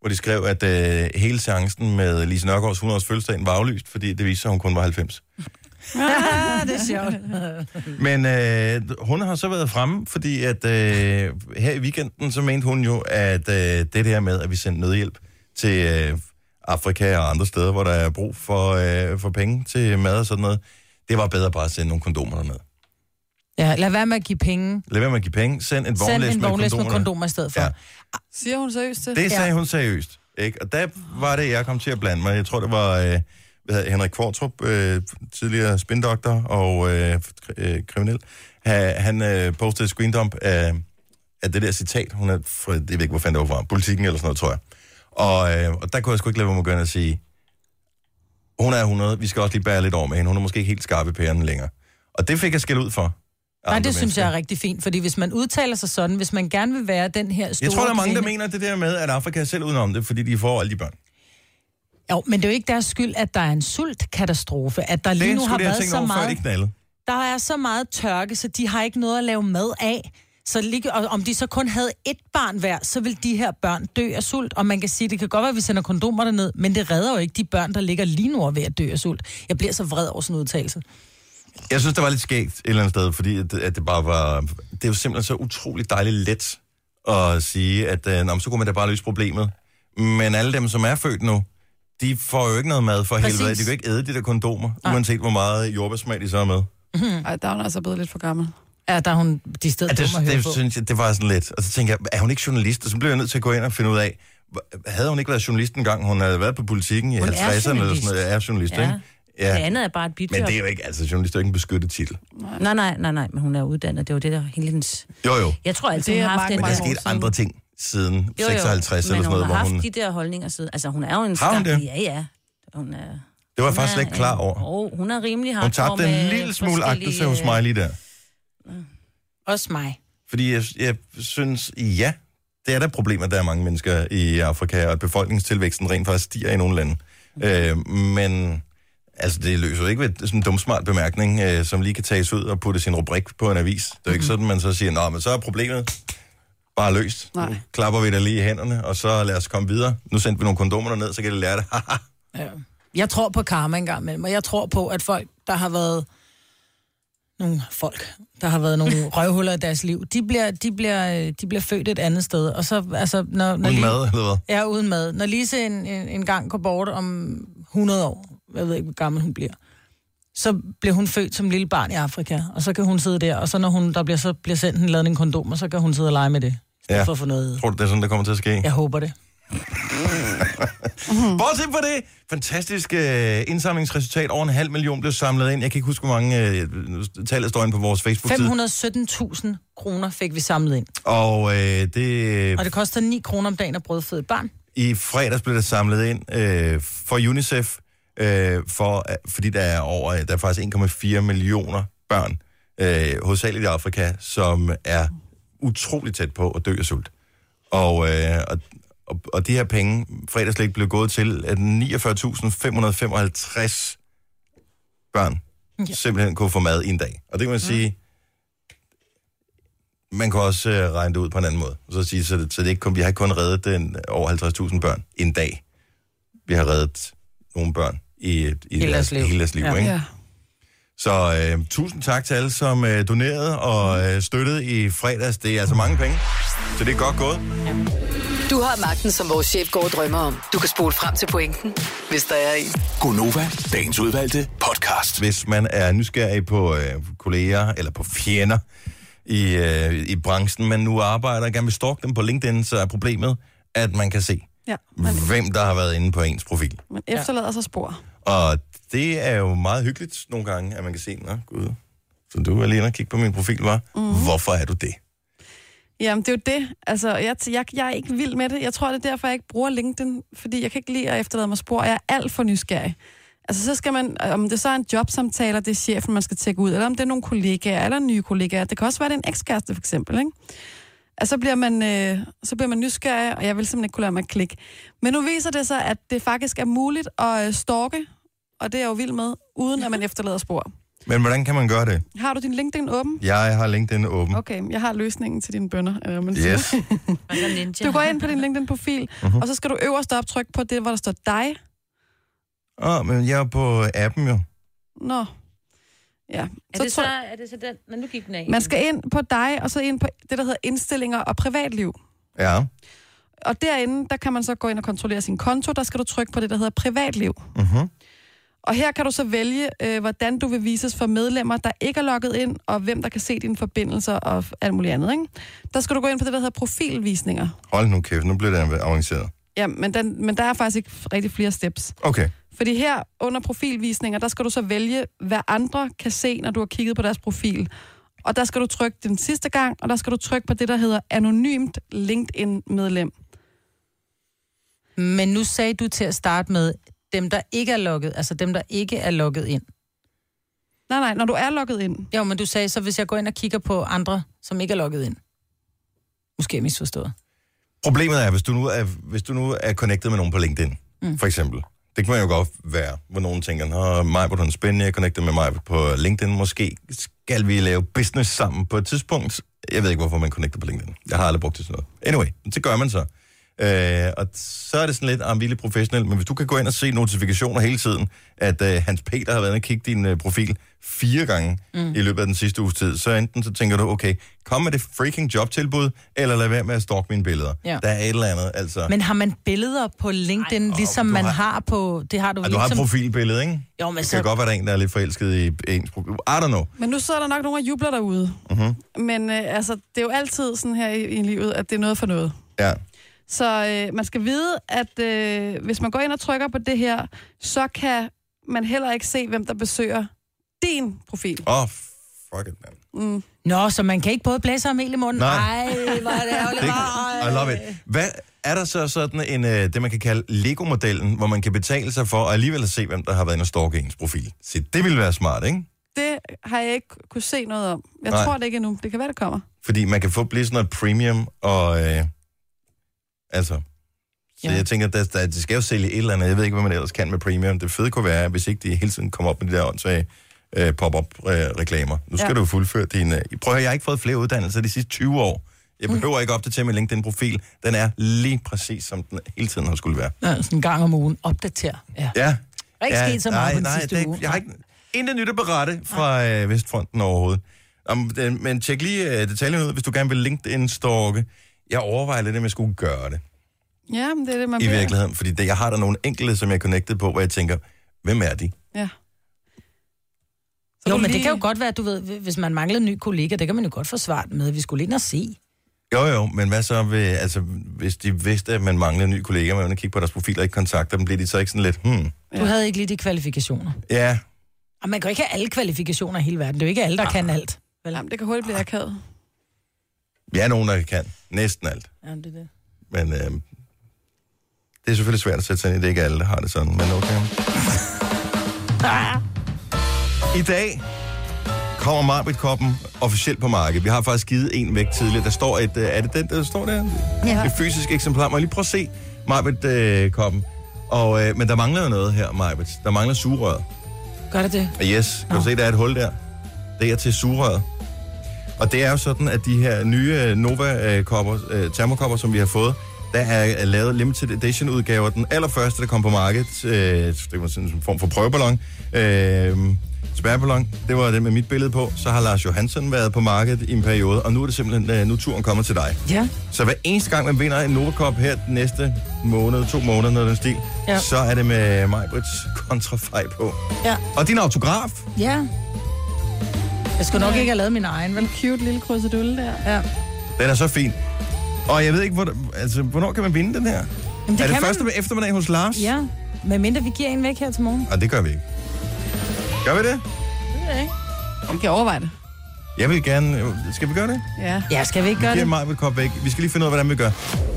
A: hvor de skrev, at øh, hele seancen med Lise Nørgaards 100 års fødselsdag var aflyst, fordi det viste sig, at hun kun var 90.
B: Ah, det er sjovt.
A: Men øh, hun har så været fremme, fordi at øh, her i weekenden, så mente hun jo, at øh, det der med, at vi sendte nødhjælp til øh, Afrika og andre steder, hvor der er brug for, øh, for penge til mad og sådan noget, det var bedre bare at sende nogle kondomer derned.
B: Ja, lad være med at give penge.
A: Lad være med at give penge, send en
B: Send
A: vognlæs
B: en vognlæs
A: med
B: med
A: kondomer.
B: kondomer i stedet for.
A: Ja.
B: Ja.
C: Siger hun seriøst det?
A: Det sagde hun seriøst. Ikke? Og der var det, jeg kom til at blande mig. Jeg tror, det var øh, hvad hedder, det, Henrik Kvartrup, øh, tidligere spindoktor og øh, kri- øh, kriminel. Ha, han øh, postede et screendump af, af det der citat. Hun er fra, jeg ved ikke, hvor fanden det var fra. Politikken eller sådan noget, tror jeg. Og, øh, og der kunne jeg sgu ikke lade være med at gå ind og sige, hun er 100, vi skal også lige bære lidt over med hende. Hun er måske ikke helt skarp i pæren længere. Og det fik jeg skæld ud for.
B: Nej, det synes jeg er rigtig fint, fordi hvis man udtaler sig sådan, hvis man gerne vil være den her store
A: Jeg tror, der er mange, der
B: kvinde-
A: mener det der med, at Afrika er selv udenom det, fordi de får alle de børn.
B: Jo, men det er jo ikke deres skyld, at der er en sultkatastrofe, at der lige
A: Det
B: nu har
A: skulle jeg
B: været
A: tænke
B: så
A: over, før
B: meget...
A: de knaldede.
B: der er så meget tørke, så de har ikke noget at lave mad af. Så lige, og om de så kun havde et barn hver, så vil de her børn dø af sult. Og man kan sige, det kan godt være, at vi sender kondomer derned, men det redder jo ikke de børn, der ligger lige nu og er ved at dø af sult. Jeg bliver så vred over sådan en udtalelse.
A: Jeg synes, det var lidt skægt et eller andet sted, fordi at, at det bare var... Det er jo simpelthen så utroligt dejligt let at sige, at øh, nå, men så kunne man da bare løse problemet. Men alle dem, som er født nu, de får jo ikke noget mad for
B: Præcis.
A: helvede. De kan ikke æde de der kondomer, uanset hvor meget jordbærsmag de så er med.
C: Ej, der er hun altså blevet lidt for gammel.
B: Mhm. Ja, der er hun de steder
A: Ja, det,
B: dum at høre
A: det,
B: på.
A: synes jeg, det var sådan lidt. Og så tænker jeg, er hun ikke journalist? Og så blev jeg nødt til at gå ind og finde ud af, hva- havde hun ikke været journalist engang? Hun havde været på politikken i
D: Hun er
A: 50'erne eller sådan
D: journalist.
A: noget. Er journalist,
D: Ja.
A: ja. ikke? Ja.
D: Det andet er bare et bidjob.
A: Men det er jo ikke, altså journalist er jo ikke en beskyttet titel.
D: Nej, nej, nej, nej, men hun er uddannet. Det var det, der hele hendes...
A: Jo, jo.
D: Jeg tror altid,
C: Det
D: hun
C: er
D: har haft
C: mange,
D: den
A: Men der
C: mange
A: er
C: år
A: sket
C: siden.
A: andre ting siden
D: Jo, jo,
A: 56
D: men
A: eller sådan noget,
D: hun har
A: hvor
D: haft
A: hun...
D: de der holdninger siden. Altså, hun er jo en
A: Har hun
D: stærk-
A: det?
D: Ja, ja. Hun er,
A: Det var jeg
D: hun
A: faktisk slet
D: er
A: ikke klar
D: en-
A: over.
D: Jo, hun er rimelig
A: Hun
D: hardcore
A: tabte en
D: med
A: lille smule
D: forskellige, øh,
A: agtelse hos mig lige der.
B: Også mig.
A: Fordi jeg, jeg synes, ja, det er da problemet, der er mange mennesker i Afrika, og at befolkningstilvæksten rent faktisk stiger i nogle lande. Øh, men altså, det løser jo ikke ved sådan en dumsmart bemærkning, øh, som lige kan tages ud og putte sin rubrik på en avis. Det er jo ikke sådan, man så siger, nå, men så er problemet bare løst.
C: Nej.
A: Nu klapper vi dig lige i hænderne, og så lad os komme videre. Nu sendte vi nogle kondomer ned, så kan det lære det.
B: Ja. Jeg tror på karma engang imellem, og jeg tror på, at folk, der har været nogle folk, der har været nogle røvhuller i deres liv, de bliver, de bliver, øh, de bliver født et andet sted. Og så, altså, når, når
A: Uden
B: lige-
A: mad, eller hvad?
B: Ja, uden mad. Når Lise en, en, en gang går bort om 100 år, jeg ved ikke, hvor gammel hun bliver, så bliver hun født som lille barn i Afrika, og så kan hun sidde der, og så når hun, der bliver, så bliver sendt en ladning kondomer, så kan hun sidde og lege med det, i stedet
A: Ja.
B: ja. for at få noget.
A: Tror du, det er sådan, der kommer til at ske?
B: Jeg håber det.
A: Bortset fra det, fantastisk øh, indsamlingsresultat. Over en halv million blev samlet ind. Jeg kan ikke huske, hvor mange øh, tallet står inde på vores Facebook-side.
B: 517.000 kroner fik vi samlet ind,
A: Og øh, det,
B: og det koster 9 kroner om dagen at brødføde et barn.
A: i fredags blev det samlet ind øh, for UNICEF, øh, for, fordi der er over, der er faktisk 1,4 millioner børn, øh, hovedsageligt i Afrika, som er utroligt tæt på at dø af sult. Og, øh, og, og, og de her penge, fredagslæg blev gået til, at 49.555 børn ja. simpelthen kunne få mad i en dag. Og det kan man sige, man kan også øh, regne det ud på en anden måde. Og Så, sige, så, det, så det ikke kun, vi har ikke kun reddet den over 50.000 børn en dag. Vi har reddet nogle børn i, et- i
B: Hele
A: hele deres
B: deres liv.
A: Hele deres liv
B: Ja.
A: ikke?
C: Ja.
A: Så øh, tusind tak til alle, som øh, donerede og øh, støttede i fredags. Det er altså mange penge, så det er godt gået.
E: Du har magten, som vores chef går og drømmer om. Du kan spole frem til pointen, hvis der er en.
F: Gonova, dagens udvalgte podcast.
A: Hvis man er nysgerrig på øh, kolleger eller på fjender i, øh, i branchen, men nu arbejder og gerne vil stalke dem på LinkedIn, så er problemet, at man kan se,
C: ja. Man,
A: hvem der har været inde på ens profil.
C: man efterlader sig spor.
A: Og det er jo meget hyggeligt nogle gange, at man kan se, nå gud, så du var lige inde og kigge på min profil, var. Mm. Hvorfor er du det?
C: Jamen, det er jo det. Altså, jeg, jeg, jeg er ikke vild med det. Jeg tror, det er derfor, jeg ikke bruger LinkedIn, fordi jeg kan ikke lide at efterlade mig spor. Jeg er alt for nysgerrig. Altså, så skal man, om det så er en jobsamtale, og det er chefen, man skal tjekke ud, eller om det er nogle kollegaer, eller nye kollegaer. Det kan også være, det er en ekskæreste, for eksempel, ikke? Altså, så bliver, man, øh, så bliver man nysgerrig, og jeg vil simpelthen ikke kunne lade mig klikke. Men nu viser det sig, at det faktisk er muligt at øh, stalke, og det er jeg jo vild med, uden at man efterlader spor.
A: Men hvordan kan man gøre det?
C: Har du din LinkedIn åben?
A: Jeg har LinkedIn åben.
C: Okay, jeg har løsningen til dine bønder, eller hvad man siger.
A: Yes.
D: Ninja.
C: Du går ind på din LinkedIn-profil, uh-huh. og så skal du øverst op trykke på det, hvor der står dig.
A: Åh, oh, men jeg er på appen jo.
C: Nå. Ja.
D: Er det så,
C: tryk-
D: er det så den? Nå, nu gik den af.
C: Man skal ind på dig, og så ind på det, der hedder indstillinger og privatliv.
A: Ja.
C: Og derinde, der kan man så gå ind og kontrollere sin konto. Der skal du trykke på det, der hedder privatliv.
A: Mhm.
C: Og her kan du så vælge, øh, hvordan du vil vises for medlemmer, der ikke er logget ind, og hvem der kan se dine forbindelser og f- alt muligt andet. Ikke? Der skal du gå ind på det, der hedder profilvisninger.
A: Hold nu kæft, nu bliver det avanceret.
C: Ja, men, den, men der er faktisk ikke rigtig flere steps.
A: Okay.
C: Fordi her under profilvisninger, der skal du så vælge, hvad andre kan se, når du har kigget på deres profil. Og der skal du trykke den sidste gang, og der skal du trykke på det, der hedder anonymt LinkedIn-medlem.
B: Men nu sagde du til at starte med, dem der ikke er logget, altså dem der ikke er logget ind.
C: Nej, nej, når du er logget ind.
B: Jo, men du sagde så, hvis jeg går ind og kigger på andre, som ikke er logget ind. Måske er jeg misforstået.
A: Problemet er, hvis du nu er, hvis du nu er connected med nogen på LinkedIn, mm. for eksempel. Det kan man jo godt være, hvor nogen tænker, Nå, mig hvor hun spændende, jeg er connected med mig på LinkedIn. Måske skal vi lave business sammen på et tidspunkt. Jeg ved ikke, hvorfor man connecter på LinkedIn. Jeg har aldrig brugt det til noget. Anyway, det gør man så. Øh, og så er det sådan lidt, at vi er lidt professionel, men hvis du kan gå ind og se notifikationer hele tiden, at øh, Hans Peter har været inde og kigge din øh, profil fire gange mm. i løbet af den sidste uges tid, så enten så tænker du, okay, kom med det freaking jobtilbud, eller lad være med at stalke mine billeder.
B: Ja.
A: Der er et eller andet, altså. Men,
B: Men har man billeder på LinkedIn, Ej,
A: åh,
B: ligesom
A: du
B: man
A: har-
B: har... på... Det har du,
A: og du har et
B: ligesom...
A: profilbillede, ikke?
B: Jo, men
A: det
B: så-
A: kan godt være, der er en, der er lidt forelsket i ens profil. I don't know.
C: Men nu sidder der nok nogen og jubler derude. Mm-hmm. Men øh, altså, det er jo altid sådan her i, i livet, at det er noget for noget.
A: Ja.
C: Så øh, man skal vide, at øh, hvis man går ind og trykker på det her, så kan man heller ikke se, hvem der besøger din profil. Mm,
A: Åh, oh, fuck it, man.
B: Nå, så man kan ikke både blæse og mel i munden?
A: Nej.
B: Ej, hvor er det ærgerligt.
A: Det, I love it. Hvad er der så sådan en, øh, det man kan kalde Lego-modellen, hvor man kan betale sig for og alligevel se, hvem der har været inde og stalke ens profil? Se, det ville være smart, ikke?
C: Det har jeg ikke kunne se noget om. Jeg
A: Nej.
C: Nej. tror det ikke endnu. Det kan være, det kommer.
A: Fordi man kan få blive sådan noget premium, og øh, altså... Så ja.
B: Ja.
A: jeg tænker, at der, de skal jo sælge et eller andet. Jeg ved ikke, hvad man ellers kan med premium. Det fede kunne være, hvis ikke de hele tiden kommer op med de der åndssvage øh, pop-up-reklamer. Nu skal ja.
C: Ja.
A: du fuldføre din... Øh, prøv at høre, jeg har ikke fået flere uddannelser de sidste 20 år. Jeg behøver mm. ikke opdatere min LinkedIn-profil. Den er lige præcis, som den hele tiden har skulle være.
B: Ja, sådan en gang om ugen. Opdater. Ja.
A: Ja.
B: Der er ikke sket så meget
A: nej,
B: på den
A: nej,
B: sidste
A: det er ikke-
B: uge.
A: Jeg har ikke intet nyt at berette fra øh, Vestfronten overhovedet. Um, det, men tjek lige øh, detaljen ud, hvis du gerne vil LinkedIn-stalke. Jeg overvejer lidt, om jeg skulle gøre det
C: Ja, men det er det, man
A: i virkeligheden. Fordi det, jeg har der nogle enkelte, som jeg er connected på, hvor jeg tænker, hvem er de?
C: Ja.
B: Jo,
C: du
B: men det
C: lige-
B: kan jo godt være, du ved, hvis man mangler en ny kollega, det kan man jo godt få svaret med, at vi skulle ind og se.
A: Jo, jo, men hvad så, ved, altså, hvis de vidste, at man mangler en ny kollega, men man kigger på deres profil og ikke kontakter dem, bliver de så ikke sådan lidt, hmm,
B: Du havde ikke lige de kvalifikationer.
A: ja,
B: Og man kan jo ikke have alle kvalifikationer i hele verden. Det er jo ikke alle, der kan alt. Vel?
C: Jamen, det kan hurtigt blive akavet.
A: vi er nogen, der kan næsten alt.
B: Jamen, det er det.
A: Men øh, det er selvfølgelig svært at sætte sig ind i. Det er ikke alle, der har det sådan, men okay. I dag kommer Marbit-koppen officielt på markedet. Vi har faktisk givet en væk tidligere. Der står et... øh, Er det den, der står der?
B: Ja.
A: Et fysisk eksemplar. Må jeg lige prøve at se Marbit-koppen? Og, øh, men der mangler jo noget her, Marbit. Der mangler sugerøret.
B: Gør det det?
A: Og Yes, kan du
B: Nå.
A: se, der er et hul der? Det er til sugerøret. Og det er jo sådan, at de her nye øh, Nova-kopper, øh, termokopper, som vi har fået, Der er lavet limited edition udgaver. Den allerførste, der kom på markedet, øh, det var sådan en form for prøveballon, øh, spærreballon, det var den med mit billede på. Så har Lars Johansson været på markedet i en periode, og nu er det simpelthen, øh, nu er turen kommer til dig.
B: Ja.
A: Så hver eneste gang, man vinder en Nova Cup her den næste måned, to måneder, noget af den stil, ja.
B: Ja.
A: så er det med Majbrits kontrafej på.
B: Ja.
A: Og din autograf,
B: Ja. Jeg skulle nok ikke have lavet min egen, vel?
C: Cute lille krydsedulle der.
B: Ja.
A: den er så fin. Og jeg ved ikke, hvor, altså, hvornår kan man vinde den her? Jamen,
B: Jamen,
A: det er det
B: kan
A: første
B: man...
A: man... eftermiddag hos Lars?
B: Ja, medmindre vi giver en væk her til morgen.
A: Og det gør vi ikke. Gør vi det?
C: Vi kan overveje det.
A: Jeg vil gerne... Skal vi gøre det?
C: Ja.
B: Ja, skal vi ikke gøre
A: Giv
B: det?
A: mig et kop væk. Vi skal lige finde ud af, hvordan vi gør.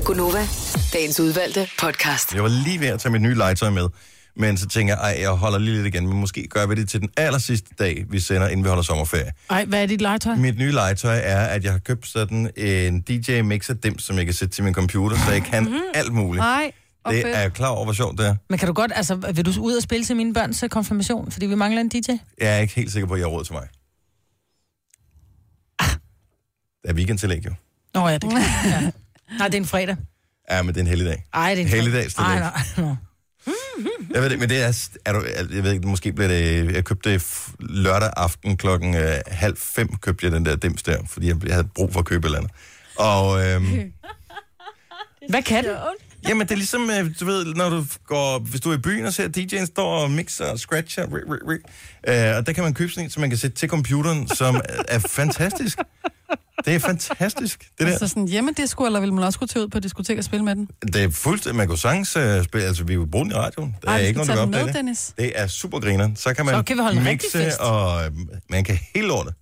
E: Gunova, dagens udvalgte podcast.
A: Jeg var lige ved at tage mit nye legetøj med, men så tænker jeg, ej, jeg holder lige lidt igen, men måske gør vi det til den aller sidste dag, vi sender, inden vi holder sommerferie.
B: Ej, hvad er dit legetøj?
A: Mit nye legetøj er, at jeg har købt sådan en DJ-mixer dem, som jeg kan sætte til min computer, så jeg kan alt muligt.
C: Nej. Og
A: Det
C: fedt.
A: er jeg klar over, hvor sjovt det er.
B: Men kan du godt, altså, vil du ud og spille til mine børns øh, konfirmation, fordi vi mangler en DJ?
A: Jeg er ikke helt sikker på, at jeg har råd til mig. Det er weekendtillæg jo.
B: Nå ja, det kan ja. Nej, det er en fredag.
A: Ja, men det er en heldig dag.
B: Ej, det er en
A: Helligdags
B: fredag. Ej,
A: tillæg.
B: nej, nej.
A: Jeg ved det, men det er, er du, jeg ved ikke, måske bliver det, jeg købte det f- lørdag aften klokken øh, halv fem, købte jeg den der dims der, fordi jeg, jeg havde brug for at købe et eller andet. Og øhm,
B: Hvad kan du?
A: jamen, det er ligesom, øh, du ved, når du går, hvis du er i byen og ser, at DJ'en står og mixer og scratcher, ri, ri, ri, øh, og der kan man købe sådan en, som man kan sætte til computeren, som er- er fantastisk. Det er fantastisk, det der.
C: Altså sådan hjemmedisco, eller vil man også kunne tage ud på diskotek og spille med den?
A: Det er fuldstændig, man kan jo sagtens øh, spille, altså vi er jo bruge den i radioen. Der er
C: Ej, vi
A: ikke
C: skal
A: noget, der
C: tage
A: gør
C: den
A: opdage
C: med,
A: det.
C: Dennis.
A: Det er super griner. Så kan man
B: Så kan vi holde en rigtig
A: mixe,
B: fest.
A: og øh, man kan helt lortet.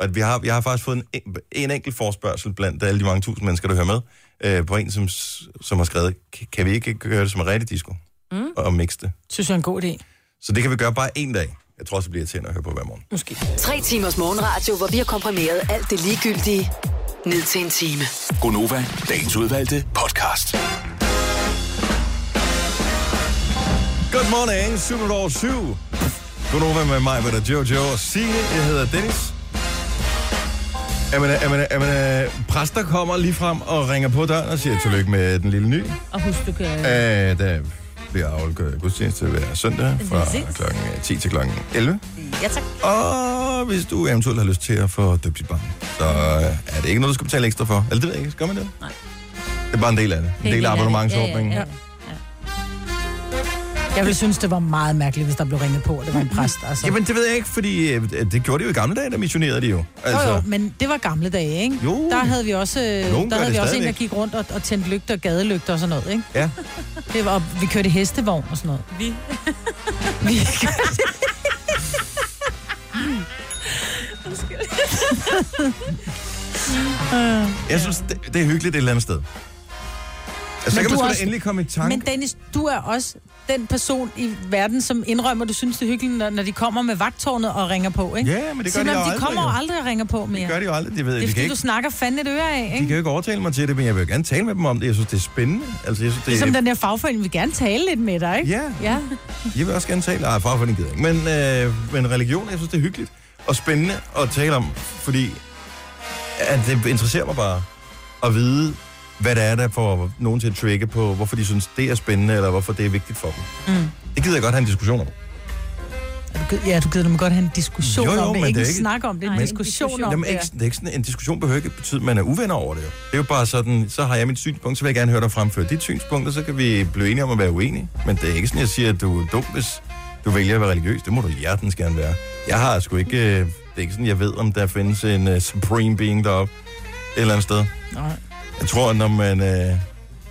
A: Og vi har, jeg har faktisk fået en, en- en enkelt forspørgsel blandt alle de mange tusind mennesker, der hører med, øh, på en, som, s- som har skrevet, "Kan- kan vi ikke gøre det som en rigtig disco? Mm. Og mixe det.
B: Synes jeg er en god idé.
A: Så det kan vi gøre bare en dag. Jeg tror også, det bliver irriterende at høre på hver morgen.
B: Måske.
E: Tre timers morgenradio, hvor vi har komprimeret alt det ligegyldige ned til en time.
F: Gonova, dagens udvalgte podcast.
A: Good morning, 7 over 7. Godnova med mig, hvad der er Jojo og Signe. Jeg hedder Dennis. Jamen, øh, jamen, øh, jamen, øh, præster kommer lige frem og ringer på døren og siger tillykke med den lille ny.
D: Og husk, du kan...
A: Øh, der bliver afholdt gudstjeneste hver søndag fra
D: Præcis.
A: kl. 10 til kl. 11.
D: Ja, tak.
A: Og hvis du eventuelt har lyst til at få døbt dit barn, så øh, er det ikke noget, du skal betale ekstra for. Eller det ved jeg ikke. Skal man det?
D: Nej.
A: Det er bare en del af det. En del af abonnementsordningen.
D: Ja, ja,
A: Ja,
D: ja.
B: Jeg ville synes, det var meget mærkeligt, hvis der blev ringet på, og det var en præst. Altså.
A: Jamen, det ved jeg ikke, fordi øh, det gjorde de jo i gamle dage, der missionerede de jo. Altså,
B: Jo, jo, men det var gamle dage, ikke?
A: Jo.
B: Der havde vi også, øh,
A: Nogen
B: der
A: gør
B: havde
A: det
B: vi også en, der
A: stadigvæk.
B: gik rundt og, og tændte lygter, gadelygter og sådan noget, ikke?
A: Ja.
B: Det var, og vi kørte i hestevogn og sådan noget. Vi. vi kørte...
D: Øh.
A: Jeg synes, det, det er hyggeligt et eller andet sted. Altså, så
B: Men du
A: kan man sgu da
B: også-
A: endelig komme i tanke.
B: Men Dennis, du er også den person i verden, som indrømmer, du synes, det er hyggeligt, når, når de kommer med vagtårnet og ringer på, ikke?
A: Ja, men det gør
B: Selvom
A: de jo
B: de
A: aldrig,
B: kommer
A: jo.
B: jo aldrig og ringer på mere.
A: Det gør de jo aldrig, de ved.
B: det er
A: de kan
B: fordi,
A: ikke,
B: du snakker fandme et øre af,
A: de
B: ikke?
A: kan jo ikke overtale mig til det, men jeg vil jo gerne tale med dem om det. Jeg synes, det er spændende. Altså, jeg synes, det
B: Ligesom
A: er...
B: den der fagforening vil gerne tale lidt med dig, ikke?
A: Ja,
B: Ja. Mm.
A: jeg vil også gerne tale. Ej, far for den gider ikke. Men, øh, men religion, jeg synes, det er hyggeligt og spændende at tale om, fordi at det interesserer mig bare at vide, hvad det er, der får nogen til at trigge på, hvorfor de synes, det er spændende, eller hvorfor det er vigtigt for dem.
B: Mm.
A: Det gider jeg godt have en diskussion om.
B: Du gid- Ja, du gider dem godt have en diskussion
A: Jo, jo,
B: om
A: men
B: det. Ikke en
A: det er ikke-
B: snak om det,
D: Nej,
B: en
D: en
B: diskussion
D: diskussion.
B: om
A: Jamen,
B: det.
A: ikke, det er ikke sådan, en diskussion behøver ikke betyde, at man er uvenner over det. jo. Det er jo bare sådan, så har jeg mit synspunkt, så vil jeg gerne høre dig fremføre dit synspunkt, og så kan vi blive enige om at være uenige. Men det er ikke sådan, jeg siger, at du er dum, hvis du vælger at være religiøs. Det må du hjertens gerne være. Jeg har sgu ikke... øh, Det er ikke sådan, jeg ved, om der findes en uh, supreme being deroppe et eller andet sted.
B: Nej.
A: Jeg tror, at når man øh,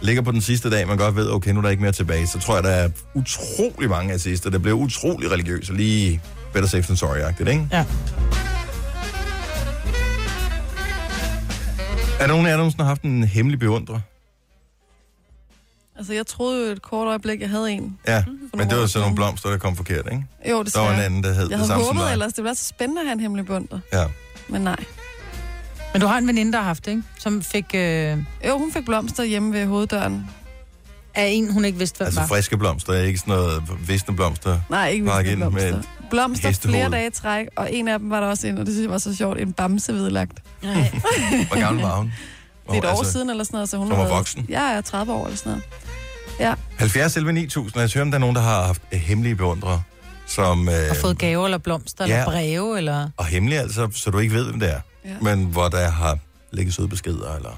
A: ligger på den sidste dag, man godt ved, okay, nu er der ikke mere tilbage, så tror jeg, der er utrolig mange assister, der bliver utrolig religiøse, lige better safe than sorry-agtigt, ikke?
B: Ja.
A: Er der nogen af jer, der nogensinde har haft en hemmelig beundrer?
C: Altså, jeg troede jo et kort øjeblik, jeg havde en.
A: Ja, men det var
C: år
A: sådan
C: siden.
A: nogle blomster, der kom forkert, ikke?
C: Jo,
A: Der var en
C: desværre.
A: anden, der hed
C: Jeg
A: det
C: havde
A: samme som
C: håbet
A: dig.
C: ellers, det ville være så spændende at have en hemmelig bunder.
A: Ja.
C: Men nej.
B: Men du har en veninde, der har haft det, ikke? Som fik øh,
C: Jo, hun fik blomster hjemme ved hoveddøren.
B: af en, hun ikke vidste, hvem
A: Altså
B: var.
A: friske blomster, ikke sådan noget visne blomster.
C: Nej, ikke
A: Bakke
C: vildt
A: ind med
C: blomster. Blomster
A: hestehoved.
C: flere dage i træk, og en af dem var der også en, og det synes jeg var så sjovt, en bamse vedlagt.
A: Hvor altså, gammel var hun?
C: det er et år siden eller sådan noget. Så hun
A: som
C: har
A: var
C: været-
A: voksen.
C: Ja, jeg er 30 år eller sådan noget. Ja,
A: 70 11 9000. Lad os høre, om der er nogen, der har haft øh, hemmelige beundrere. Som, øh,
B: Og fået gaver eller blomster
A: ja.
B: eller breve eller...
A: og hemmelige altså, så du ikke ved, hvem det er.
C: Ja.
A: Men hvor der har ligget søde beskeder eller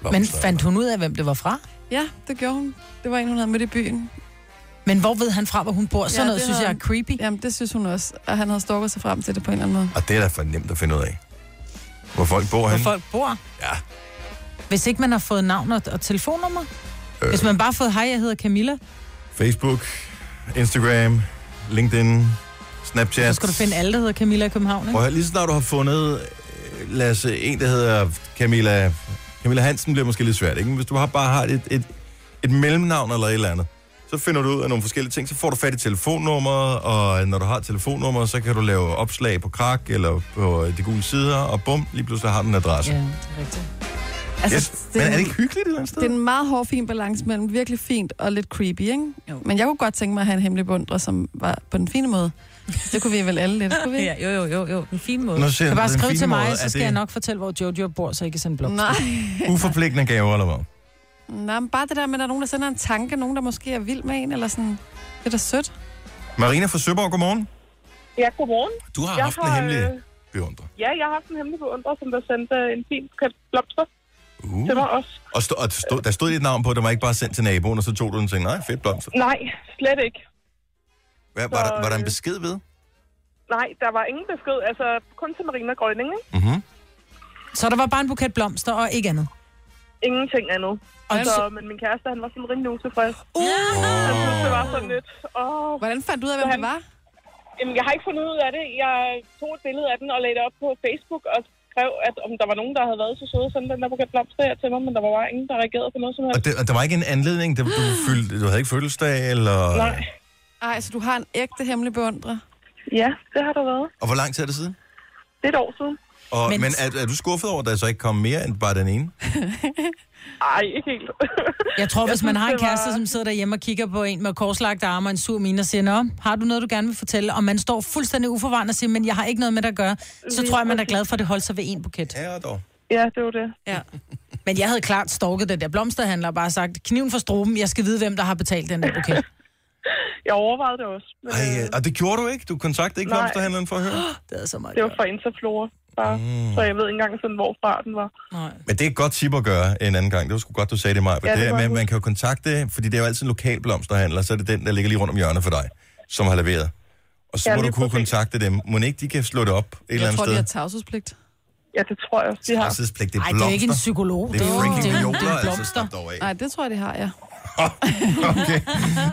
A: blomster.
B: Men fandt hun ud af, hvem det var fra?
C: ja, det gjorde hun. Det var en, hun havde mødt i byen.
B: Men hvor ved han fra, hvor hun bor? Sådan
C: Ja,
B: ja, noget
C: det
B: synes
C: havde
B: jeg er creepy. Ja.
C: Jamen, det synes hun også. Og han havde stalket sig frem til det på en eller anden måde.
A: Og Ah, det er da for nemt at finde ud af. Hvor folk bor
B: Hvor
A: henne.
B: folk bor.
A: Hm? Ja.
B: Hvis ikke man har fået navn og, og telefonnummer. Øh. Hvis man bare har fået, hej, jeg hedder Camilla,
A: Facebook, Instagram, LinkedIn, Snapchat.
B: så skal du finde alle, der hedder Camilla i København, ikke?
A: Prøv at høre, lige så snart du har fundet, øh, lad os se, en, der hedder Camilla, Camilla Hansen, bliver måske lidt svært, ikke? Men hvis du har, bare har et, et, et mellemnavn eller et eller andet, så finder du ud af nogle forskellige ting, så får du fat i telefonnummeret, og når du har telefonnummeret, så kan du lave opslag på krak eller på øh, de gule sider, og bum, lige pludselig har du en adresse.
B: Ja, det er rigtigt.
A: Altså,
C: Altså,
A: yes.
C: det,
A: Men
C: er
A: er det
C: en,
A: ikke hyggeligt et eller andet sted?
C: det er en meget hård, fin balance mellem virkelig fint og lidt creepy, ikke?
D: Jo.
C: Men jeg kunne godt tænke mig at have en hemmelig bundre, som var på den fine måde. Det kunne vi vel alle lidt, skulle vi? ikke?
D: Ja, jo, jo, jo, jo. Den fine måde.
A: Nå, ser
B: Du
A: du
B: kan bare
A: den
B: skrive
A: fine
B: til mig,
A: måde, er
B: så skal
A: det
B: jeg nok fortælle, hvor Jojo bor, så jeg kan sende blomster.
C: Nej.
A: Uforpligtende gaver, eller hvad?
C: Nej, men bare det der med, at der er nogen, der sender en tanke, nogen, der måske er vild med en, eller sådan. Det er da sødt.
A: Marina fra Søborg, godmorgen.
G: Ja, godmorgen.
A: Du har
G: Jeg
A: haft en
G: har,
A: hemmelig
G: øh,
A: beundrer.
G: Ja, jeg har haft en hemmelig beundrer, som der sendte en fin købt blomster
A: Uh.
G: til mig også.
A: Og, stå, og stå, der stod dit navn på, det var ikke bare sendt til naboen, og så tog du den og tænkte, nej, fedt blomster.
G: Nej, slet ikke.
A: Hvad, var,
G: Så,
A: der, var der en
G: øh,
A: besked ved?
G: Nej, der var ingen besked. Altså, kun til Marina Grønning, ikke?
A: Mm-hmm.
B: Så der var bare en buket blomster og ikke andet.
G: Ingenting andet.
B: Og
G: Så,
C: altså-
B: så,
G: men min kæreste, han var sådan rimelig utilfreds. Han
A: Oh.
G: synes, det var sådan lidt. Åh,
C: Hvordan fandt du ud af, hvem det var?
G: jamen, jeg har ikke fundet ud af det. Jeg tog et billede af den og lagde det op på Facebook og skrev, at om der var nogen, der havde været så søde, sådan den der buket blomster her til mig, men der var bare ingen, der reagerede på noget som helst.
A: Og, det, og der var ikke en anledning? Det, du, fyldte, du havde ikke fødselsdag, eller...
G: Nej.
C: Ej, så du har en ægte hemmelig beundrer.
G: Ja, det har der været.
A: Og hvor lang tid er det siden?
G: Det er et år siden.
A: Og, men
B: Men-
A: men er, er du skuffet over, at der så ikke kom mere end bare den ene?
G: Ej, ikke helt.
B: jeg tror, hvis man
G: synes,
B: har en
G: det var-
B: kæreste, som sidder derhjemme og kigger på en med korslagte arme og en sur mine og siger, Nå, har du noget, du gerne vil fortælle? Og man står fuldstændig uforvarende og siger, men jeg har ikke noget med det at gøre. Så tror jeg, man er glad for, at det holdt sig ved en buket.
A: Ja, dog.
G: ja, det var det.
B: Ja. Men jeg havde klart stalket den der blomsterhandler og bare sagt, kniven for struben, jeg skal vide, hvem der har betalt den der buket.
G: Jeg overvejede det også. Men,
A: Ej, øh, og det gjorde du ikke? Du kontaktede ikke
G: Nej.
A: blomsterhandleren for at høre?
B: Det er så meget
G: Det var fra Interflora, bare. Mm. Så jeg ved ikke engang, sådan, hvorfra den var.
B: Nej.
A: Men det er et godt tip at gøre en anden gang. Det var sgu godt, du sagde det, Maja.
G: Ja,
A: Ja,
G: det
A: det
G: var
A: man,
G: det.
A: man kan jo kontakte, fordi det er jo altid en lokal blomsterhandler, så er det den, der ligger lige rundt om hjørnet for dig, som har leveret. Og så
G: Ja,
A: må du
G: lige
A: kunne
G: præcis.
A: kontakte dem. Må ikke de kan slå det op et eller
C: Jeg
A: andet
C: tror,
A: sted?
C: de har tavshedspligt.
G: Ja, det tror jeg også, de har.
A: Tavshedspligt, det er
B: Ej, det
A: blomster.
B: er ikke en psykolog.
A: Det er freaking
B: det er- det
A: jordler,
B: er
A: altså.
B: blomster.
A: Stop dog af.
C: Nej, det tror jeg, de har, ja.
A: Okay.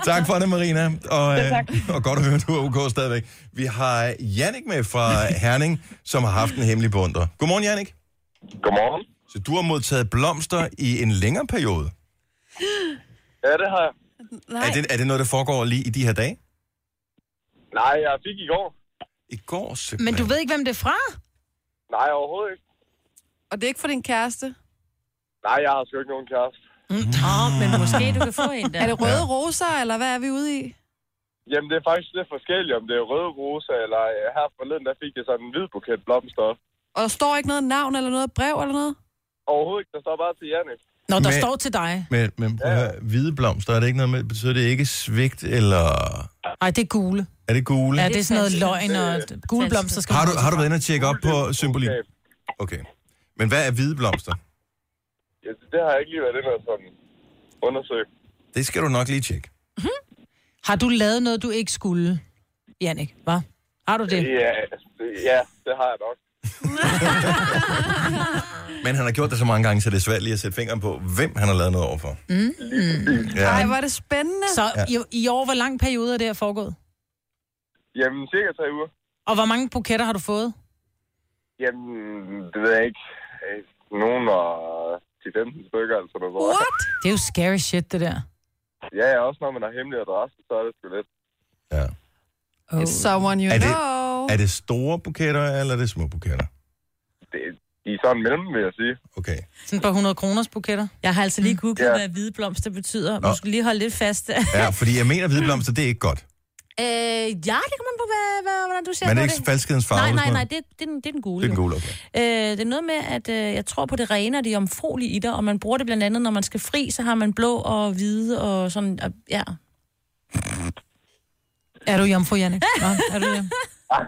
A: Tak for det, Marina. Og,
G: Ja, tak.
A: øh, og godt at høre, du er OK stadigvæk. Vi har Jannik med fra Herning, som har haft en hemmelig beundrer. Godmorgen, Jannik.
H: Godmorgen.
A: Så du har modtaget blomster i en længere periode.
H: Ja, det har jeg.
C: Nej,
A: Er det, er det noget, der foregår lige i de her dage?
H: Nej, jeg fik i går.
A: I går, simpelthen.
B: Men du ved ikke, hvem det er fra?
H: Nej, overhovedet ikke.
C: og det er ikke for din kæreste.
H: Nej, jeg har sgu ikke nogen kæreste.
D: Åh, oh,
A: Mm.
D: men måske du kan få en der.
C: Er det røde roser, eller hvad er vi ude i?
H: Jamen, det er faktisk lidt forskelligt, om det er røde roser, eller øh, her forleden, der fik jeg sådan en hvid buket blomster.
C: Og der står ikke noget navn eller noget brev eller noget?
H: Overhovedet ikke, der står bare til Janne.
B: Nå, der
A: Men-
B: står til dig.
A: Men, men prøv at
H: Ja, ja.
A: høre, hvide blomster, er det ikke noget med, betyder det ikke svigt, eller
B: Nej, det er gule.
A: er det gule?
B: Ja, det er sådan noget løgn
H: Øh,
B: og gule
D: falsk.
B: blomster. Skal
A: Har
B: man
A: du, har du været inde og tjekke op på symbolik?
H: Skab.
A: Okay. Men hvad er hvide blomster?
H: Ja, det har jeg ikke lige været inde og sådan undersøge.
A: Det skal du nok lige tjekke.
B: Har du lavet noget, du ikke skulle, Jannik? Hva? Har du det?
H: Ja, det- ja, det har jeg nok.
A: Men han har gjort det så mange gange, så det er svært lige at sætte fingeren på, hvem han har lavet noget overfor. Mm.
C: Nej, hvor er det spændende.
B: Så i, i år, hvor lang periode er det her foregået?
H: Jamen, cirka tre uger.
B: Og hvor mange buketter har du fået?
H: Jamen, det ved jeg ikke. Øh, Nogen og 10-15 stykker, altså. Der var.
C: What?
B: Det er jo scary shit, det der.
H: Ja, ja, også når man har hemmelig adresse, så er det sgu lidt.
A: Ja.
B: Oh.
C: It's someone you
A: Er det-
C: know.
A: Er det store buketter, eller er det små buketter?
H: Det, de er sådan mellem, vil jeg sige.
A: Okay.
B: Sådan på 100 kroners buketter.
D: Jeg har altså
A: Mm.
D: lige googlet,
H: Ja.
D: hvad hvide blomster betyder. Du skal lige holde lidt fast.
A: Ja, fordi jeg mener, at hvide blomster, det er ikke godt.
D: Øh, ja, det kommer an på, hvad, hvad, hvordan du ser
A: Men
D: på
A: er det
D: det.
A: ikke falskhedens farve?
D: Nej,
A: hvis
D: nej,
A: man-
D: nej, det, det, er den, det er den gule.
A: Det er
D: jo.
A: den gule, okay.
D: Øh, det er noget med, at øh, jeg tror på det rene og det omfrolige i dig, og man bruger det blandt andet, når man skal fri, så har man blå og hvide og sådan, og, ja.
B: Er du jomfru, Janne? Nå, er, du det?
H: Nej,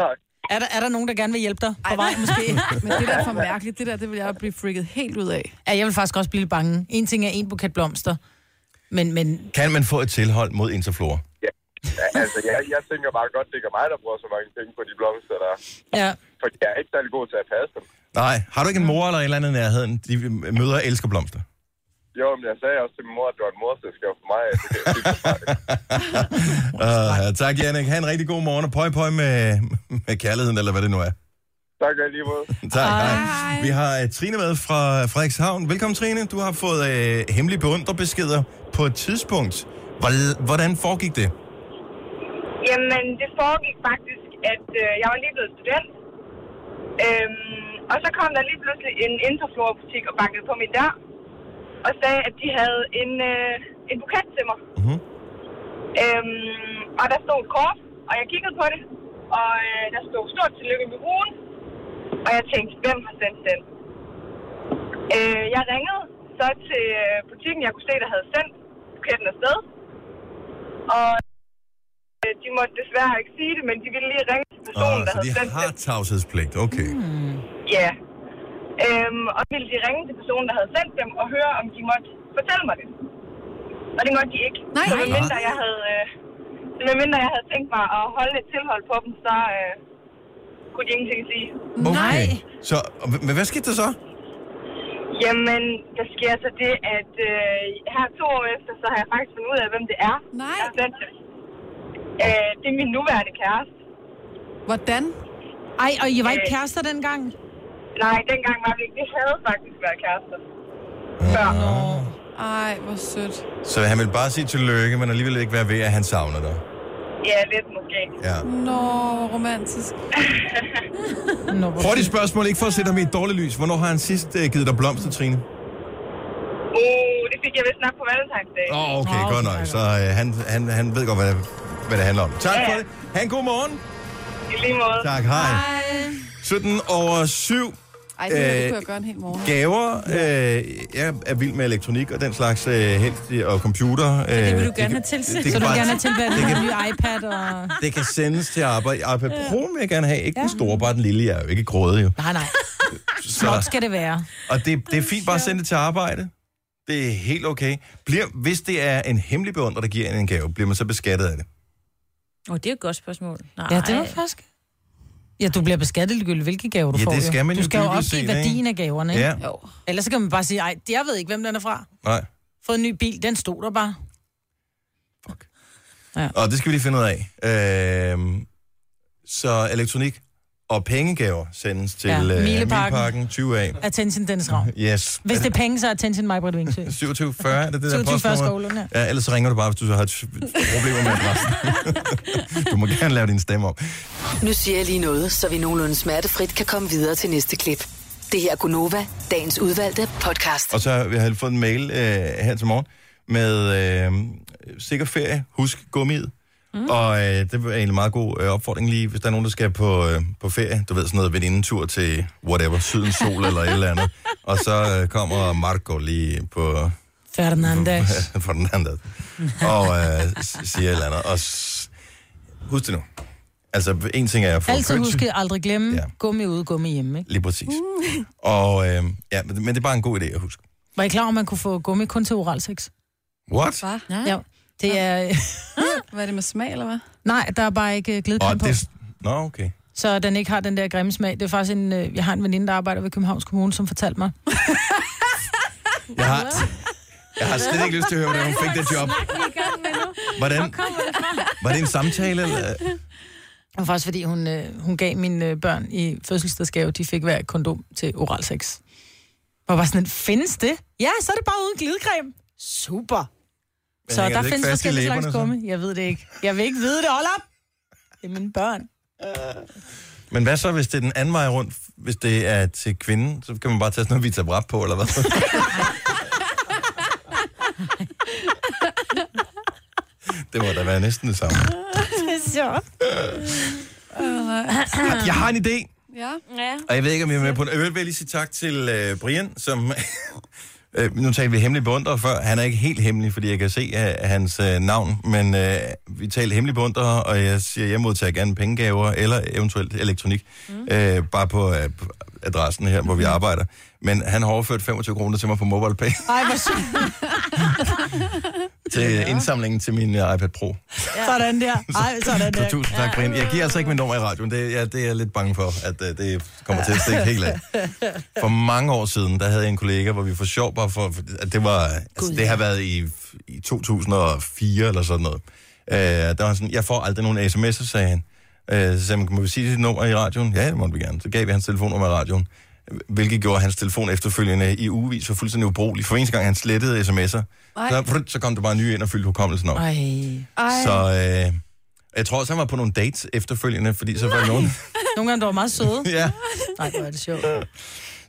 H: nej.
B: er, der, er der nogen, der gerne vil hjælpe dig på vej, måske?
C: Men det der er for mærkeligt. Det der, det vil jeg blive freaket helt ud af.
B: Ja, jeg vil faktisk også blive lidt bange. En ting er en buket blomster, men, men
A: Kan man få et tilhold mod Interflora?
H: Ja, altså, jeg, jeg tænker bare godt, det ikke er mig, der bruger så mange penge på de blomster, der...
B: ja,
H: For jeg er ikke særlig god til at passe dem.
A: Nej. Har du ikke en mor eller et eller andet i nærheden? De møder elsker blomster.
H: Jo, men jeg sagde også til min mor, at det var en morselskab for mig. Det kan jeg ikke forklare.
A: Uh, tak, Jannik. Ha' en rigtig god morgen, og pøj pøj med, med kærligheden, eller hvad det nu er.
H: tak alligevel.
A: Tak. Hej. Vi har uh, Trine med fra Frederikshavn. Velkommen, Trine. Du har fået uh, hemmelige beundrerbeskeder på et tidspunkt. Hvor, hvordan foregik det?
G: Jamen, det foregik faktisk, at øh, jeg var lige blevet student. Øhm, og så kom der lige pludselig en Interflora-butik og bankede på min dør. Og sagde, at de havde en, øh, en buket til mig.
A: Mhm.
G: Øhm, og der stod et kort, og jeg kiggede på det. Og øh, der stod stort tillykke med ugen. Og jeg tænkte, hvem har sendt den? Øh, jeg ringede så til øh, butikken, jeg kunne se, der havde sendt buketten afsted. Og øh, de måtte desværre ikke sige det, men de ville lige ringe til personen,
A: Ah,
G: der
A: så
G: havde
A: de
G: sendt
A: har
G: den.
A: tavshedspligt. Okay.
G: Ja. Øhm, og så ville de ringe til personen, der havde sendt dem, og høre, om de måtte fortælle mig det. Og det måtte de ikke.
C: Nej.
G: så medmindre jeg havde, øh, så medmindre jeg havde tænkt mig at holde et tilhold på dem, så øh, kunne de ingenting sige.
A: okay. Så, og h- men hvad skete der så?
G: Jamen, der sker så det, at øh, her to år efter, så har jeg faktisk fundet ud af, hvem det er.
C: Nej.
G: der har sendt det. Øh, det er min nuværende kæreste. Øh,
C: Hvordan?
B: Ej, og I var ikke kærester dengang?
G: Nej, dengang var vi ikke. Vi havde faktisk været kærester. Før.
C: Ej, hvor sødt.
A: Ah. Så han vil bare sige tillykke, men alligevel ikke være ved, at han savner dig.
G: Ja, lidt måske.
A: Ja.
C: Nå, hvor romantisk.
B: Nå, hvor-
A: Prøv dit spørgsmål, ikke for at sætte ham i et dårligt lys. Hvornår har han sidst uh, givet dig blomster, Trine?
G: Uh, det fik jeg vist nok på valentinsdag.
A: Åh, oh, okay,
B: Nå,
A: godt
B: så
A: nok.
B: er
A: Så øh, han, han, han ved godt, hvad, hvad det handler om. Tak
G: Ja.
A: for det. Ha' en god morgen.
G: I lige måde.
A: Tak, hej. 17 over 7
C: Ej, det, her, det
A: Øh,
C: kunne jeg gøre en hel morgen.
A: gaver. Øh, jeg er vild med elektronik og den slags øh, helst, og computer. Øh, det
D: vil du gerne have tilsendt.
B: Så
A: Det, kan
B: du vil
A: bare-
B: gerne have tilvalgt en ny iPad og...
A: det kan sendes til arbejde. iPad Pro vil jeg gerne have. Ikke den store, bare den lille. Jeg er jo ikke grådig jo.
B: Nej, nej. Nok
A: Så,
B: skal det være.
A: og det, det er fint bare at sende det til arbejde. Det er helt okay. Bliver, hvis det er en hemmelig beundrer, der giver en en gave, bliver man så beskattet af det?
D: Åh, oh, det er et godt spørgsmål. Nej.
B: Ja, det var faktisk... Ja,
D: Ah,
B: du bliver beskattet ligegyldigt, hvilke gaver du
A: Ja,
B: får.
A: det
B: jo.
A: skal man
B: du
A: jo
B: skal jo
A: dybest
B: opgive
A: set, ikke?
B: værdien af gaverne, ikke?
A: Ja,
C: Jo.
B: Ellers så kan man bare sige, ej, jeg ved ikke, hvem den er fra.
A: nej.
B: Fået en ny bil, den stod der bare.
A: Og det skal vi lige finde ud af. Øhm, så elektronik og pengegaver sendes til
B: Ja,
A: ja,
B: Mileparken.
A: Mileparken 20 af.
B: Attention Dennis Ravn.
A: Yes.
B: Hvis det er penge, så er attention mig, Britt Vingsø.
A: 27.40, er det det der
B: 27.40
A: postnummer?
B: skolen, ja.
A: Ja, ellers så ringer du bare, hvis du så har et problemer med adressen. du må gerne lave din stemme om.
E: Nu siger jeg lige noget, så vi nogenlunde smertefrit kan komme videre til næste klip. Det her er Gunova, dagens udvalgte podcast.
A: Og så har vi har fået en mail øh, her til morgen med øh, sikker ferie, husk gummiet. Mm. Og øh, det er egentlig en meget god øh, opfordring lige, hvis der er nogen, der skal på, øh, på ferie. Du ved, sådan noget venindetur til whatever, sydens sol eller et eller andet. Og så øh, kommer Marco lige på
B: Ferdinandes.
A: Fernandes og øh, s- siger et eller andet. Og s- husk det nu. Altså, en ting er at få
B: Altid
A: kønsy-
B: huske aldrig glemme.
A: Ja.
B: Gummi ude, gummi hjemme, ikke? Uh.
A: Lige præcis. Og øh, ja, men men det er bare en god idé at huske.
B: Var I klar, over, at man kunne få gummi kun til oral sex?
A: What?
C: Hvad?
B: Ja. Det er...
C: Hvad er det med smag, eller hvad?
B: Nej, der er bare ikke øh, glidecreme
A: Og
B: på.
A: det... Nå, okay.
B: så den ikke har den der grimme smag. Det er faktisk en, øh, jeg har en veninde, der arbejder ved Københavns Kommune, som fortalte mig.
A: Jeg har, jeg har slet ikke lyst til at høre, hvordan hun fik det job. Hvordan? Var det en samtale? Eller?
B: Det var faktisk, fordi hun, øh, hun gav mine øh, børn i fødselsdagsgave, de fik hver et kondom til oral sex. Og var sådan, lidt, findes det? Ja, så er det bare uden glidecreme. Super.
A: Men
B: så
A: hænger
B: der
A: det ikke
B: findes
A: fast i
B: forskellige
A: læberne,
B: slags
A: så?
B: gumme. Jeg ved det ikke. Jeg vil ikke vide det. Hold op! Det er mine børn.
A: Men hvad så, hvis det er den anden vej rundt? Hvis det er til kvinden, så kan man bare tage sådan noget vitabrat på, eller hvad? Det må da være næsten det samme. Jeg har en idé.
C: Ja.
D: Ja.
A: Og jeg ved ikke, om jeg er med på den. Jeg vil jeg lige sige tak til øh, Brian, som... øh, nu talte vi hemmelig beundrer før. Han er ikke helt hemmelig, fordi jeg kan se øh, hans øh, navn. Men øh, vi talte hemmelig beundrer, og jeg siger, jeg modtager gerne pengegaver eller eventuelt elektronik. Mm. Øh, bare på øh, adressen her, hvor vi arbejder. Men han har overført 25 kroner til mig på MobilePay.
B: Mm. Ej, hvor sygt.
A: til indsamlingen til min øh, iPad Pro.
B: Sådan der. Ej, sådan
A: Så
B: der.
A: tusind tak, Brian. Jeg giver altså ikke mit nummer i radioen. Det, ja, det er jeg lidt bange for, at uh, det kommer til at stikke helt af. For mange år siden, der havde jeg en kollega, hvor vi for sjov bare for... At det, var, altså, det har været i, i 2004 eller sådan noget. Uh, der var sådan, jeg får aldrig nogen sms'er, sagde han. Uh, så sagde han, må vi sige dit nummer i radioen? Ja, det måtte vi gerne. Så gav vi hans telefonnummer i radioen. Hvilket gjorde hans telefon efterfølgende i ugevis for fuldstændig ubrugelig. For eneste gang, han slettede sms'er, så, så kom der bare nye ind og fyldte hukommelsen op.
B: Ej.
C: Ej,
A: Så øh, jeg tror også, han var på nogle dates efterfølgende, fordi så var der nogen...
B: Nogle gange, der var meget søde.
A: ja,
B: Nej, hvor er det sjovt.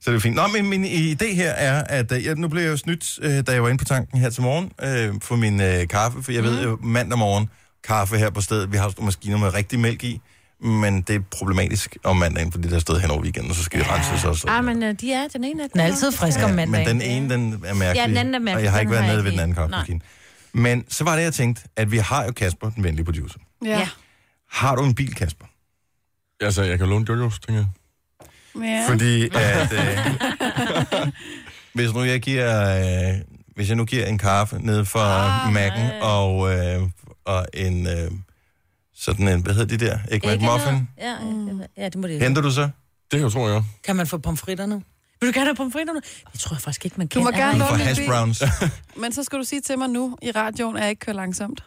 A: så det er fint. Nå, men min idé her er, at øh, jeg, nu blev jeg jo snydt, øh, da jeg var inde på tanken her til morgen, øh, for min øh, kaffe, for jeg mm. ved
D: Mhm.
A: jo, mandag morgen, kaffe her på stedet, vi har sådan nogle maskiner med rigtig mælk i, men det er problematisk om mandagen, fordi der stod hen over weekenden, og så skal det renses også.
D: Ej, men øh, de er, den ene er
B: Den er altid frisk om
A: Ja,
B: mandagen.
A: men den ene, den er mærkelig.
D: Ja, den anden er mærkelig,
A: Og jeg har ikke
D: den
A: været
D: har jeg
A: nede
D: ikke
A: ved den anden
D: i. Nej.
A: kaffemaskine. Men så var det, jeg tænkte, at vi har jo Kasper, den venlige producer.
C: ja.
D: Ja.
A: Har du en bil, Kasper?
I: Altså, jeg kan låne Jojos, tænker jeg.
C: ja.
A: Fordi at... Øh, hvis nu jeg giver... Øh, hvis jeg nu giver en kaffe ned fra ah, Mac'en og, øh, og en... Øh, sådan en... Hvad hedder de der? Egg McMuffin?
D: Ja, ja, ja, det må det.
A: Henter du så?
I: Det kan jeg tro, jeg.
B: Kan man få pomfritter nu?
D: Vil du gerne have pomfritterne? Det tror jeg faktisk ikke, man kan.
C: Du må
D: Er
C: gerne
D: der-
A: For
C: låne min
A: hash
C: bil,
A: browns.
C: men så skal du sige til mig nu i radioen, at jeg ikke kører langsomt.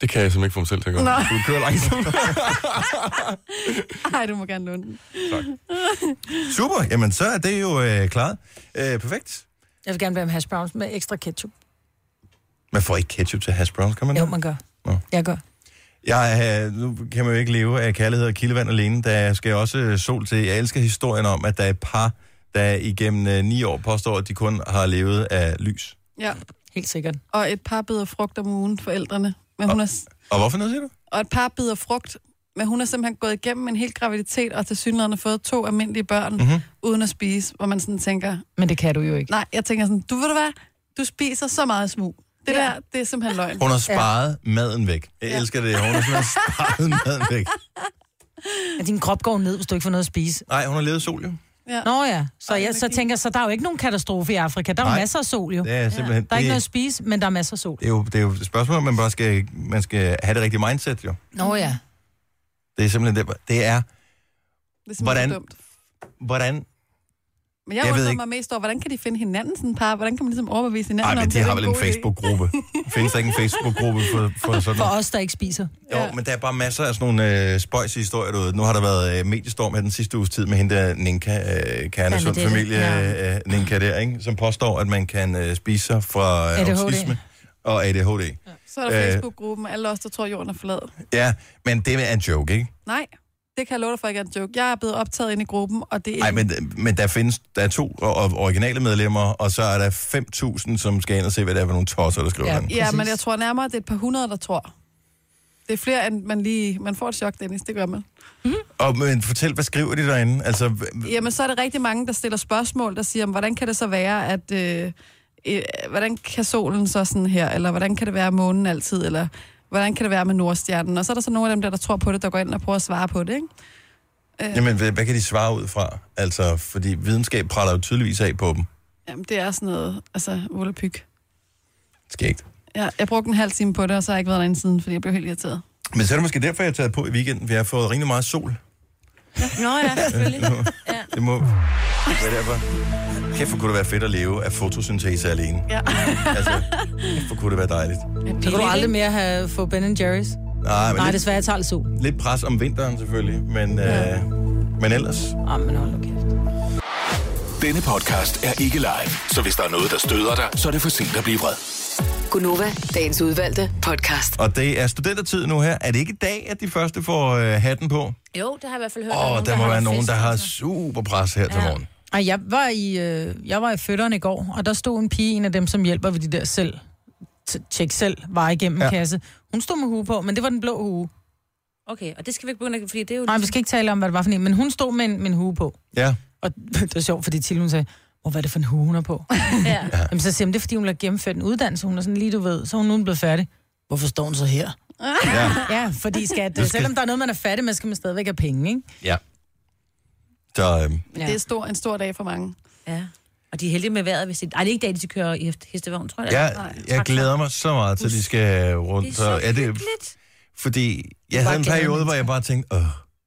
I: Det kan jeg simpelthen ikke få mig selv til at gøre.
C: Nå.
I: Du kører langsomt.
C: Nej, du må gerne låne den.
A: Super, jamen så er det jo øh, klaret. Øh, perfekt.
B: Jeg vil gerne være med hash browns med ekstra ketchup.
A: Man får ikke ketchup til hash browns, kan man?
B: Jo, man gør.
A: Nå.
B: Jeg gør.
A: Jeg, øh, nu kan man jo ikke leve af kærlighed og kildevand alene. Der skal også øh, sol til. Jeg elsker historien om, at der er et par, der igennem øh, ni år påstår, at de kun har levet af lys.
C: Ja.
B: Helt sikkert.
C: Og et par bidder frugt om ugen, forældrene. Men hun er, s-
A: Og hvorfor noget siger du?
C: og et par bidder frugt, men hun har simpelthen gået igennem en hel graviditet, og til synligheden har fået to almindelige børn,
A: Mhm.
C: mm-hmm. uden at spise, hvor man sådan tænker,
B: Men det kan du jo ikke.
C: nej, jeg tænker sådan, du ved du hvad, du spiser så meget smug. Det ja. der, det er simpelthen løgn.
A: Hun har sparet ja. maden væk. Jeg ja. elsker det. Hun har simpelthen sparet maden væk.
B: Men din krop går ned, hvis du ikke får noget at spise.
A: Nej, hun har levet sol, jo.
C: Ja.
B: Nå ja, så,
C: Ej,
B: jeg,
C: hvor
B: så
C: fint.
B: tænker jeg, så der er jo ikke nogen katastrofe i Afrika. Der er jo
A: Nej.
B: masser af sol jo.
A: Det er simpelthen...
B: Der er ikke
A: det,
B: noget at spise, men der er masser af sol.
A: det, er jo, det er jo et spørgsmål, om man bare skal, man skal have det rigtige mindset, jo.
B: Nå ja.
A: Det er simpelthen det. Det er,
C: Det er simpelthen
A: Hvordan-
C: Hvordan? dumt.
A: hvordan...
C: Men jeg,
A: Jeg
C: jeg
A: ved
C: undrer
A: ikke-
C: mig mest over, hvordan kan de finde hinanden sådan et par? Hvordan kan man ligesom overbevise
A: Nej,
C: hinanden
A: men
C: om,
A: de
C: det er
A: har
C: en
A: vel en
C: god idé?
A: Facebook-gruppe. Findes der ikke en Facebook-gruppe for, for sådan
B: For
A: noget?
B: os, der ikke spiser.
A: Jo, men der er bare masser af sådan nogle øh, spøjs historier derude. Nu har der været øh, mediestorm her den sidste uges tid med hende der Ninka øh, Kernesund,
D: Bernadette,
A: familie ja. øh, Ninka der, ikke? som påstår, at man kan øh, spise sig fra øh,
B: ADHD.
A: autisme og ADHD. Ja.
C: Så er der
A: Øh.
C: Facebook-gruppen, alle os, der tror, jorden er flad.
A: ja, men det er en joke, ikke?
C: Nej, det kan jeg love dig for ikke er en joke. Jeg er blevet optaget ind i gruppen, og det er
A: Nej, men, men der findes der er to og, og originale medlemmer, og så er der 5.000, som skal ind og se, hvad det er for nogle tosser, der skriver
B: Ja.
A: ja. den.
C: Ja,
B: Præcis.
C: men jeg tror nærmere, at det er et par hundrede, der tror. Det er flere, end man lige... Man får et chok, Dennis, det gør man.
A: Og men, fortæl, hvad skriver de derinde? Altså, h-
C: Jamen, så er det rigtig mange, der stiller spørgsmål, der siger, "Men hvordan kan det så være, at... Øh, øh, hvordan kan solen så sådan her? Eller hvordan kan det være at månen altid? Eller hvordan kan det være med nordstjernen? Og så er der så nogle af dem, der, der tror på det, der går ind og prøver at svare på det, ikke? Øh,
A: jamen, hvad, hvad kan de svare ud fra? Altså, fordi videnskab praller jo tydeligvis af på dem.
C: Jamen, det er sådan noget... Altså, volapyk.
A: Skægt.
C: Ja, jeg brugte en halv time på det, og så har jeg ikke været derinde siden, fordi jeg blev helt irriteret.
A: Men så er det måske derfor, jeg har taget på i weekenden. Vi har fået rigtig meget sol.
D: Nå ja, selvfølgelig.
A: Det må... Hvad er derfor? Kæft, hvor kunne det være fedt at leve af fotosyntese alene. Ja. altså, kæft, hvor kunne det være dejligt.
B: Så kan du aldrig mere have, få Ben Jerry's.
A: Nej, men
B: Nej,
A: lidt,
B: desværre, jeg tager lidt sol.
A: lidt pres om vinteren selvfølgelig, men, ja. øh, men ellers...
B: Åh, men hold nu kæft.
F: Denne podcast er ikke live, så hvis der er noget, der støder dig, så er det for sent at blive vred.
E: Gunova, dagens udvalgte podcast.
A: Og det er studentertid nu her. Er det ikke i dag, at de første får øh, hatten på? Åh,
D: Jo, det har jeg i hvert fald hørt.
A: oh, der, må
D: har
A: være nogen,
D: fest,
A: der har
D: altså.
A: super pres her ja. til morgen.
B: Ej, jeg var i, øh, jeg var i fødderne i går, og der stod en pige, en af dem, som hjælper ved de der selv t- tjek selv varer igennem
A: Ja.
B: ja. kasse. Hun stod med hue på, men det var den blå hue.
D: Okay, og det skal vi ikke begynde, at- fordi det er jo... ligesom-
B: Nej, vi skal ikke tale om, hvad det var for en, men hun stod med en, med en hue på.
A: Ja.
B: Og det var sjovt, fordi Tilly, hun sagde, hvor hvad er det for en hue, hun har på?
D: Ja.
B: Jamen, så siger hun, det er, fordi hun har gennemført en uddannelse, hun er sådan lige, du ved, så er hun nu blevet færdig. Hvorfor står hun så her?
A: Ja.
B: Ja, fordi skat,
A: skal-
B: skal... selvom der er noget, man er fattig med, skal man stadigvæk have penge, ikke?
A: ja. Så øhm,
C: Ja. Det er stor, en stor dag for mange.
D: Ja. Og de er heldige med vejret, hvis det... Ej, det er ikke dag, de skal køre i hest- hestevogn, tror jeg.
A: jeg, jeg glæder mig så meget til, at de skal rundt.
D: Det er
A: og-
D: så
A: er det,
D: hyggeligt.
A: fordi jeg havde en
B: glade
A: periode, hvor jeg bare tænkte, åh,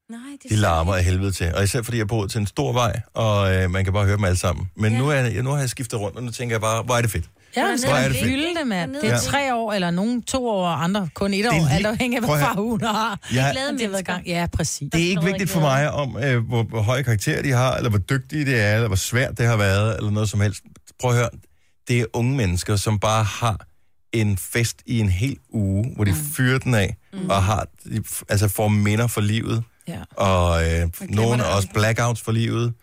D: Nej, det
A: De
D: er så...
A: larmer af helvede til. Og især fordi jeg bor til en stor vej, og øh, man kan bare høre dem alle sammen. Men ja. nu, er, jeg- nu har jeg skiftet rundt, og nu tænker jeg bare, hvor er det fedt.
B: Ja,
D: Hvor
B: man
A: er
B: skal
A: det fedt.
B: fylde det, mand. Det er
A: Ja.
B: tre år, eller nogen to år, og andre kun et år,
A: lige-
B: alt afhængig af,
A: Prøv
B: hvad
A: at høre.
B: far hun har.
A: Jeg,
D: Glade
B: Det har været i
D: mennesker.
B: gang. Ja, præcis.
A: det er ikke vigtigt for mig, om øh, hvor, hvor høje karakterer de har, eller hvor dygtige de er, eller hvor svært det har været, eller noget som helst. Prøv at høre, det er unge mennesker, som bare har en fest i en hel uge, hvor de mm. fyrer den af, mm. og har, de f- altså får minder for livet,
B: Ja.
A: og øh, nogle
C: det
A: også blackouts for livet.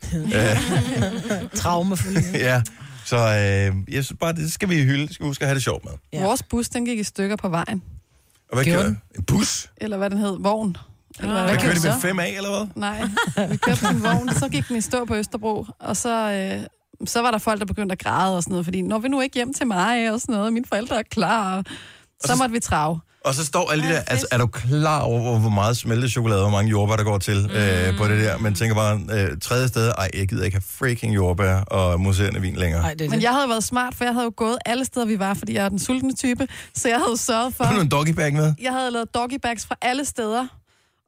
B: Traume for livet.
A: ja. Så øh, jeg synes bare, det skal vi hylde. Det skal vi huske at have det sjovt med.
B: Ja.
C: Ja. Vores bus, den gik i stykker på vejen.
A: Og hvad
B: Gjorde
A: gjorde
B: den?
A: den? En bus?
C: Eller hvad den hed, vogn.
D: Ah.
C: Eller
A: Hvad
B: gjorde
A: kørte
B: den
A: de med
B: så?
A: fem af, eller hvad?
C: Nej, vi købte en vogn, så gik den i stå på Østerbro, og så, øh, så var der folk, der begyndte at græde og sådan noget, fordi når vi nu ikke hjem til mig og sådan noget, og mine forældre er klar, og så måtte vi trave.
A: Og så står alle de der, altså er du klar over, hvor- hvor meget smeltet chokolade, hvor mange jordbær, der går til mm. øh, på det der? Man tænker bare, øh, tredje sted, ej, jeg gider ikke have freaking jordbær og museerne vin længere.
B: Nej, det er
C: Men
B: det.
C: jeg havde været smart, for jeg havde jo gået alle steder, vi var, fordi jeg er den sultne type, så jeg havde jo sørget for...
A: Har du en doggybag med?
C: Jeg havde lavet doggybags fra alle steder,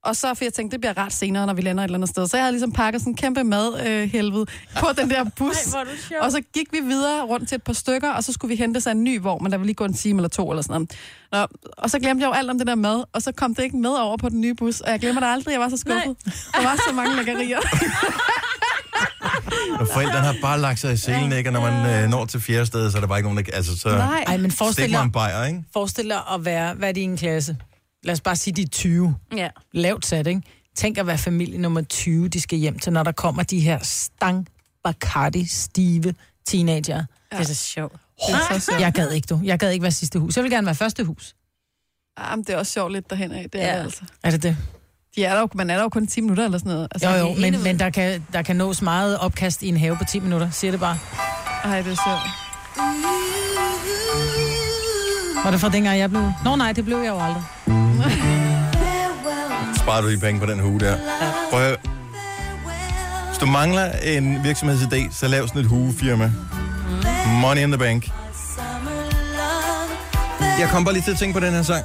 C: og så for jeg tænkte, det bliver ret senere, når vi lander et eller andet sted. Så jeg havde ligesom pakket sådan en kæmpe madhelvede øh, helvede på den der bus.
D: Ej, hvor er du sjov.
C: og så gik vi videre rundt til et par stykker, og så skulle vi hente sig en ny vogn, men der ville lige gå en time eller to eller sådan noget. Nå, og så glemte jeg jo alt om det der mad, og så kom det ikke med over på den nye bus, og jeg glemmer det aldrig, jeg var så skuffet. Der var så mange lækkerier.
A: Og forældrene har bare lagt sig i selen, ikke? Og når man øh, når til fjerde sted, så er der bare ikke nogen, der... Altså, så
C: Nej,
B: Ej, men
A: stik
B: forestil
A: mig
B: dig,
A: en bajer, ikke?
B: forestil dig at være, hvad er det i en klasse? Lad os bare sige, de er 20.
D: Ja.
B: Lavt sat, ikke? Tænk at være familie nummer 20, de skal hjem til, når der kommer de her stang Bacardi stive teenager.
D: Det er så sjovt.
C: det er så sjovt.
B: Jeg gad ikke, du. Jeg gad ikke være sidste hus. Jeg vil gerne være første hus.
C: Jamen, det er også sjovt lidt derhen af, det er
D: Ja.
C: ja. altså.
B: Er det det?
C: De er der jo, man er der jo kun 10 minutter eller sådan noget. Altså,
B: Jo,
D: er
B: jo,
D: helt enig
B: men,
D: med
B: men der, kan, der kan nås meget opkast i en have på 10 minutter, siger det bare.
C: Ej, det er sjovt.
B: Var det fra dengang, jeg blev... Nå nej, det blev jeg jo aldrig.
A: Sparer du de penge på den hue der? Prøv at høre. Hvis du mangler en virksomhedsidé, så lav sådan et huefirma. Money in the bank. Jeg kom bare lige til at tænke på den her sang.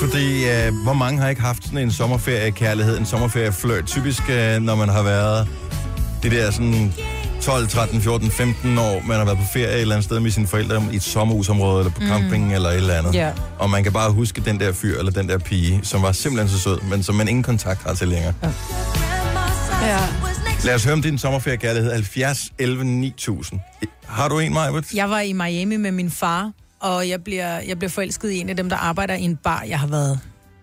A: Fordi øh, hvor mange har ikke haft sådan en sommerferiekærlighed, en sommerferieflirt? Typisk, øh, når man har været det der sådan 12, 13, 14, 15 år, man har været på ferie et eller andet sted med sine forældre i et sommerhusområde, eller på camping, eller et eller andet.
B: Ja.
A: Og man kan bare huske den der fyr, eller den der pige, som var simpelthen så sød, men som man ingen kontakt har til længere.
C: Ja.
A: Lad os høre om din sommerferiekærlighed. 70 11 9000. Har du en, Majbert?
B: Jeg var i Miami med min far, og jeg bliver, jeg bliver forelsket i en af dem, der arbejder i en bar. Jeg har været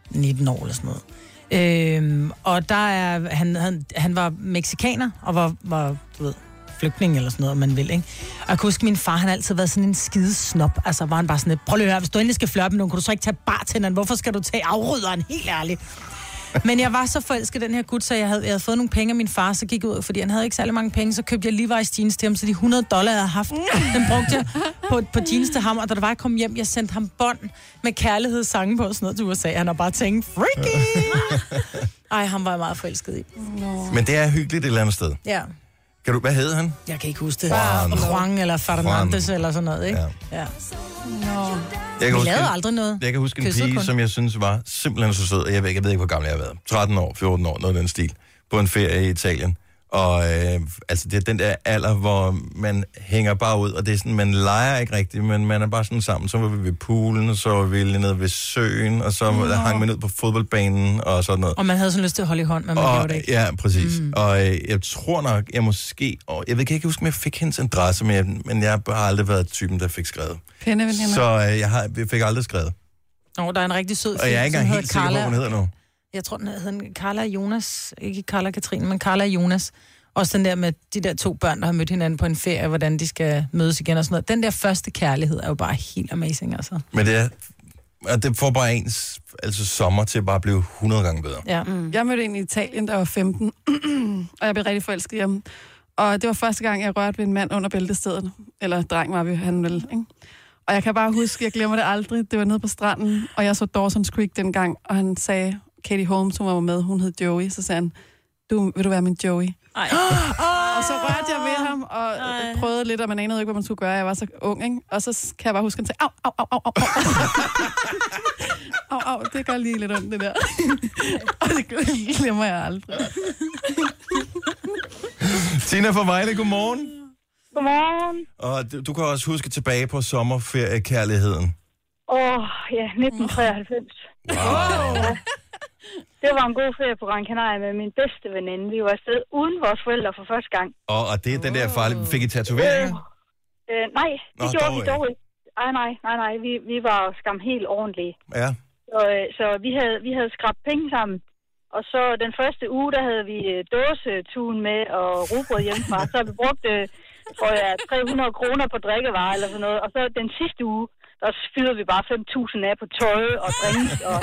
B: 19 år eller sådan noget. Øhm, og der er, han, han, han var meksikaner, og var, var du ved, flygtning eller sådan noget, om man vil, ikke? Og jeg kan huske, min far, han har altid været sådan en skide snop. Altså, var han bare sådan et, prøv lige at høre, hvis du endelig skal flirte med nogen, kan du så ikke tage bartenderen? Hvorfor skal du tage afrydderen? Helt ærligt. Men jeg var så forelsket i den her gut, så jeg havde, jeg havde fået nogle penge af min far, så gik jeg ud, fordi han havde ikke særlig mange penge, så købte jeg Levi's jeans til ham, så de 100 dollar, jeg havde haft, den brugte jeg på, på jeans til ham, og da det var, jeg kom hjem, jeg sendte ham bånd med kærlighedssange på og sådan noget til USA. Han har bare tænkt, freaky! Ej, han var jeg meget forelsket i.
A: Men det er hyggeligt et eller andet sted.
B: Ja.
A: Kan du, hvad hed han?
B: Jeg kan ikke huske det.
A: Juan.
B: Juan eller Fernandes
A: Juan.
B: eller sådan noget, ikke? Ja. ja.
A: Jeg kan
B: Vi
A: huske,
B: lavede aldrig noget.
A: jeg kan huske en
B: Kyssede
A: pige,
B: kun.
A: som jeg synes var simpelthen så sød. og Jeg ved, ikke- jeg ved ikke, hvor gammel jeg har været. 13 år, 14 år, noget af den stil. På en ferie i Italien. Og øh, altså, det er den der alder, hvor man hænger bare ud, og det er sådan, man leger ikke rigtigt, men man er bare sådan sammen. Så var vi ved poolen, og så var vi nede ved søen, og så hang man ud på fodboldbanen og sådan noget.
B: Og man havde sådan lyst til at holde i hånd, men man
A: Og,
B: gjorde det ikke.
A: ja, præcis. Mm. Og øh, jeg tror nok, jeg måske... Og jeg ved kan ikke huske, om jeg fik hendes adresse, men jeg, men jeg har aldrig været typen, der fik skrevet.
C: Pindeveninder.
A: Så øh, jeg, har, jeg fik aldrig skrevet.
B: Nå, der er en rigtig sød
A: Og jeg er ikke
B: som
A: engang
B: hedder
A: helt sikker på,
B: Carla.
A: hvad hun hedder nu.
B: jeg tror, den hedder Carla og Jonas, ikke Carla og Katrine, men Carla og Jonas. Også den der med de der to børn, der har mødt hinanden på en ferie, hvordan de skal mødes igen og sådan noget. Den der første kærlighed er jo bare helt amazing, altså.
A: Men det, er, og det får bare ens altså sommer til at bare blive 100 gange bedre.
B: Ja. Mm.
C: Jeg mødte en i Italien, der var 15, og jeg blev rigtig forelsket i ham. Og det var første gang, jeg rørte ved en mand under bæltestedet. Eller dreng var vi, han vel, ikke? Og jeg kan bare huske, jeg glemmer det aldrig, det var nede på stranden, og jeg så Dawson's Creek dengang, og han sagde, Katie Holmes, hun var med, hun hed Joey, så sagde han, du, vil du være min Joey?
J: Ej.
C: Og så rørte jeg ved ham, og
J: Ej.
C: prøvede lidt, og man anede jo ikke, hvad man skulle gøre. Jeg var så ung, ikke? Og så kan jeg bare huske, at han sagde, au, au, au, au, au, au. au, au, det gør lige lidt ondt, det der. og det glemmer jeg aldrig.
A: Tina fra Vejle, godmorgen.
K: Godmorgen.
A: Og du, du kan også huske tilbage på sommerferiekærligheden.
K: Åh, oh, ja, 1993.
A: Wow.
K: Det var en god ferie på Gran Canaria med min bedste veninde. Vi var afsted uden vores forældre for første gang.
A: Og, og det er den der farlige... Fik I tatoveringer?
K: Øh, nej,
A: Nå,
K: det Nå, gjorde
A: dog
K: vi
A: ikke.
K: dog ikke. Ej, nej, nej, nej. Vi, vi var skam helt ordentlige.
A: Ja.
K: Så, øh, så vi havde, vi havde skrabt penge sammen. Og så den første uge, der havde vi øh, dåsetun med og rugbrød hjemmefra. Så havde vi brugt øh, tror jeg, 300 kroner på drikkevarer eller sådan noget. Og så den sidste uge, der fyrede vi bare 5.000 af på tøj og drinks. Og,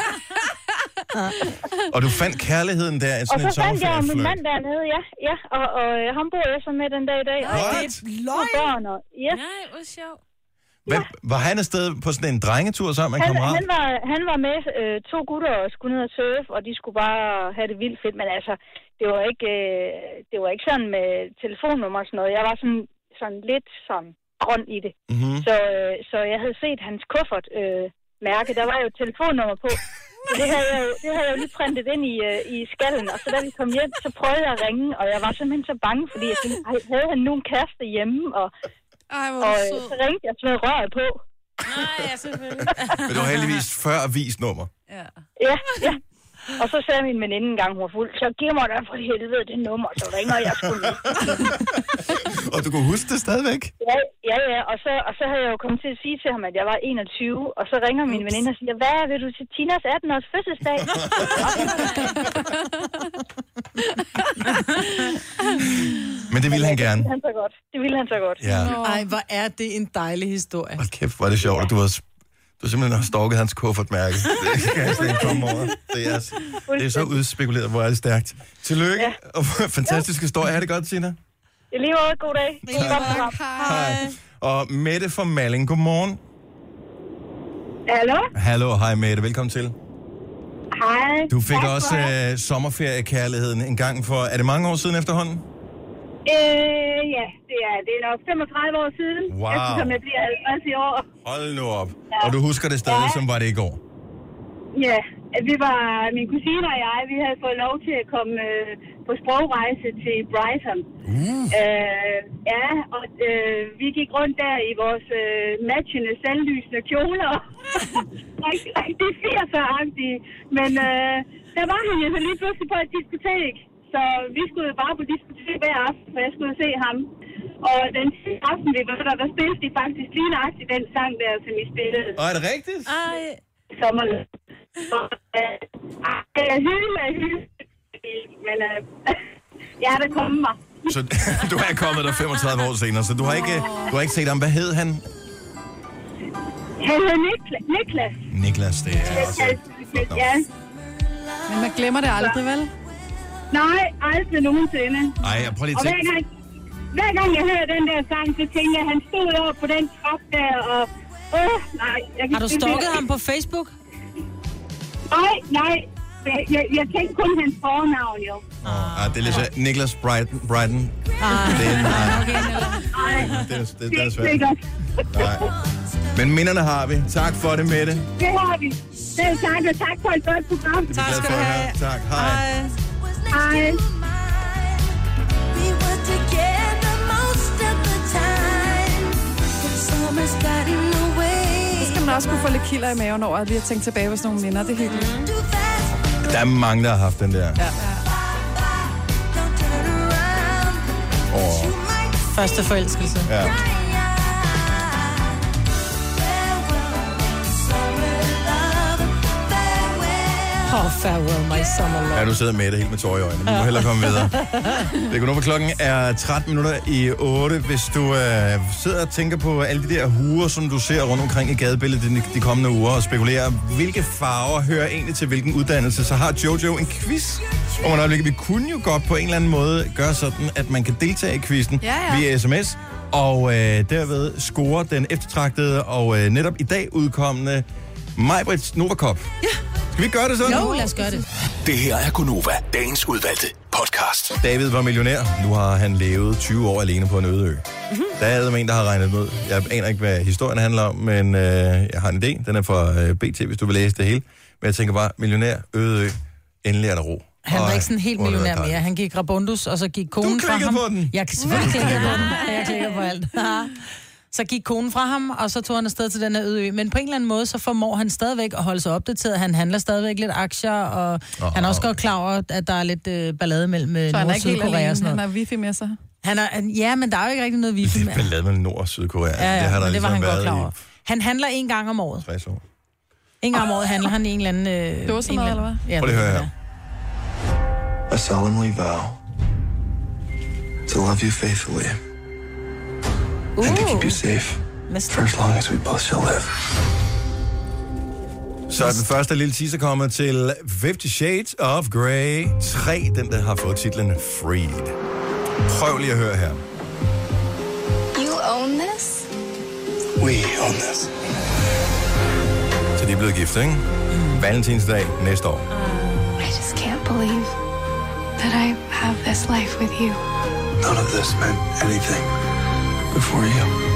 A: Og du fandt kærligheden der,
K: og
A: sådan
K: så
A: en
K: fandt jeg min
A: sommerferieflirt.
K: mand dernede, ja. ja og, og øh, ham bor jeg så med den dag i dag. Og
A: What?
K: to børn. Og, yes,
J: Nej, hvor sjovt.
A: Hvem, var han afsted på sådan en drengetur sammen med en
K: Han,
A: kammerat?
K: han, var, han var med øh, to gutter og skulle ned og surfe, og de skulle bare have det vildt fedt. Men altså, det var ikke, øh, det var ikke sådan med telefonnummer og sådan noget. Jeg var sådan, sådan lidt sådan grøn i det.
A: Mm-hmm.
K: Så, øh, så jeg havde set hans kuffert øh, mærke. Der var jo et telefonnummer på. Så det havde, jeg, jo- det havde jeg jo lige printet ind i, øh, i skallen, og så da vi kom hjem, så prøvede jeg at ringe, og jeg var simpelthen så bange, fordi jeg tænkte, "Ej, havde han nu en kæreste hjemme, og,
C: Ej, hvor
K: og
C: er du
K: øh,
C: sød.
K: så ringte jeg og smed røret på.
J: Nej, ja, selvfølgelig.
A: Men det var heldigvis før avisnummer.
J: ja.
K: Ja, ja. Og så sagde min veninde engang, hun var fuld, så giv mig da for helvede det nummer, så ringer jeg sgu nu.
A: Og du kunne huske det stadigvæk?
K: Ja, ja, ja. Og, så, og så havde jeg jo kommet til at sige til ham, at jeg var 21, og så ringer min veninde og siger, hvad vil du til Tinas 18-års fødselsdag?
A: Men det ville han gerne.
K: han så godt. Det ville han så godt.
A: Ja.
B: Ej, hvor er det en dejlig historie.
A: Hold kæft, hvor er det sjovt, at du har, du har simpelthen har stalket hans kuffertmærke. Det kan jeg slet ikke komme over. Det er, det er så udspekuleret, hvor er det stærkt. Tillykke, ja. og fantastisk historie. Ha' det godt, Tina.
K: I lige måde, god dag. Tak. Godt program.
A: Hej. Og Mette fra Malling, godmorgen.
K: Hallo?
A: Hallo, hej Mette, velkommen til.
K: Hej.
A: Du fik
K: Tak
A: tak
K: for
A: også
K: det.
A: øh, sommerferiekærligheden en gang for, er det mange år siden efterhånden?
K: Øh, ja, det er, det er nok 35 år siden,
A: Wow.
K: eftersom jeg bliver 50 i år.
A: Hold nu op. Og du husker det stadig,
K: Ja.
A: som var det i går.
K: Ja, at vi var, min kusine og jeg, vi havde fået lov til at komme øh, på sprogrejse til Brighton.
A: Uh.
K: Øh, ja, og øh, vi gik rundt der i vores øh, matchende, selvlysende kjoler. Rigt- Rigtig 80'er-agtige. Men øh, der var han jo så lige pludselig på et diskotek. Så vi skulle jo bare på diskotek hver aften, for jeg skulle jo se ham. Og den sidste aften, vi var der, der spillede de faktisk lige nøjagtigt den sang der, som I spillede
A: Og er det rigtigt?
J: Ej,
K: sommeren. Så, øh, ah, det er hylde, hylde. Men øh, jeg er da kommet mig.
A: Så du er kommet der 35 år senere, så du har ikke, du har ikke set ham. Hvad hed han?
K: Han hed Nikla- Niklas.
A: Niklas, det er også et flot
K: Ja.
A: navn.
C: Men man glemmer det aldrig, vel?
K: Nej, aldrig nogensinde.
A: Ej, jeg prøver lige
K: Og
A: at
K: hver
A: tænke.
K: gang, hver gang jeg hører den der sang, så tænker jeg, at han stod over på den trap der, og... Åh, nej. Jeg kan
B: Har du
K: ikke-
B: stalket ham på Facebook?
K: Nej, nej. Jeg, jeg, jeg tænkte kun hans fornavn, jo.
A: Åh, ah, det er lidt svært. Niklas Brighton. Brighton. Det er, nej,
K: Nej,
A: det er, det,
K: det
A: det
K: er
A: er
K: ikke
A: svært.
K: sikkert.
A: Nej. Men minderne har vi. Tak for det, Mette. Det
K: Det har vi. Selv tak, og tak for et godt program.
A: er vi glade for at høre. Tak. Hej.
K: Hej.
C: Så skal man også kunne få lidt kilder i maven over, at lige har tænkt tilbage på sådan nogle minder. Det er hyggeligt.
A: Der er mange, der har haft den der. Åh,
B: Første forelskelse.
A: ja.
B: Prøv Oh, farewell, my summer love.
A: Ja, du sidder med det helt med tårer i øjnene. Vi må hellere komme videre. Det går nu, klokken er 13 minutter i 8. Hvis du øh, sidder og tænker på alle de der huer, som du ser rundt omkring i gadebilledet de, de kommende uger, og spekulerer, hvilke farver hører egentlig til hvilken uddannelse, så har Jojo en quiz om et øjeblik. Vi kunne jo godt på en eller anden måde gøre sådan, at man kan deltage i quizzen
C: Ja, ja.
A: via sms, og øh, derved score den eftertragtede og øh, netop i dag udkommende Majbrits Novakop. Ja. Skal vi gøre det sådan?
D: Jo, lad os gøre det.
F: Det her er Gunova, dagens udvalgte podcast.
A: David var millionær. Nu har han levet 20 år alene på en øde ø.
B: Mhm.
A: Mm-hmm. Der er en, der har regnet med. Jeg aner ikke, hvad historien handler om, men øh, jeg har en idé. Den er fra øh, BT, hvis du vil læse det hele. Men jeg tænker bare, millionær, øde ø, endelig er der ro.
B: Han var
A: Og,
B: ikke sådan helt
A: hvor har det været
B: millionær mere.
A: dejligt.
B: Han gik rabundus, og så gik
A: Du
B: konen fra
A: klikkede
B: ham.
A: på den.
B: Jeg kan selvfølgelig klikke på den. Jeg klikker på alt. Så gik konen fra ham, og så tog han afsted til den her øde ø. Men på en eller anden måde, så formår han stadigvæk at holde sig opdateret. Han handler stadigvæk lidt aktier, og oh, han er også godt klar over, at der er lidt øh, ballade mellem øh,
C: Så
B: Nord-
C: han er
B: og
C: ikke helt
B: Sydkorea og
C: alene.
B: sådan
C: Han
B: noget.
C: har wifi med sig.
B: Han er, han- ja, men der er jo ikke rigtig noget wifi.
A: Det
B: med-
A: er ballade mellem Nord- og Sydkorea.
B: Ligesom- Ja, ja,
A: det har der
B: men det var
A: ligesom
B: han godt
A: været
B: klar over.
A: i
B: Han handler en gang om året.
A: 60 år.
B: En gang om året handler han i en eller anden... Øh,
C: Dåsemad,
B: en
C: eller hvad?
B: Ja,
A: Prøv lige at
B: det
A: høre
B: er.
A: her.
L: I solemnly vow to love you faithfully and to keep you safe for as long as we both shall live.
A: Så er den første lille teaser kommer til 50 Shades of Grey 3, den der har fået titlen Freed. Prøv lige at høre her.
M: You own this?
A: We own this. Så de er blevet gift, ikke? Valentinsdag næste år.
M: I just can't believe that I have this life with you.
L: None of this meant anything before you.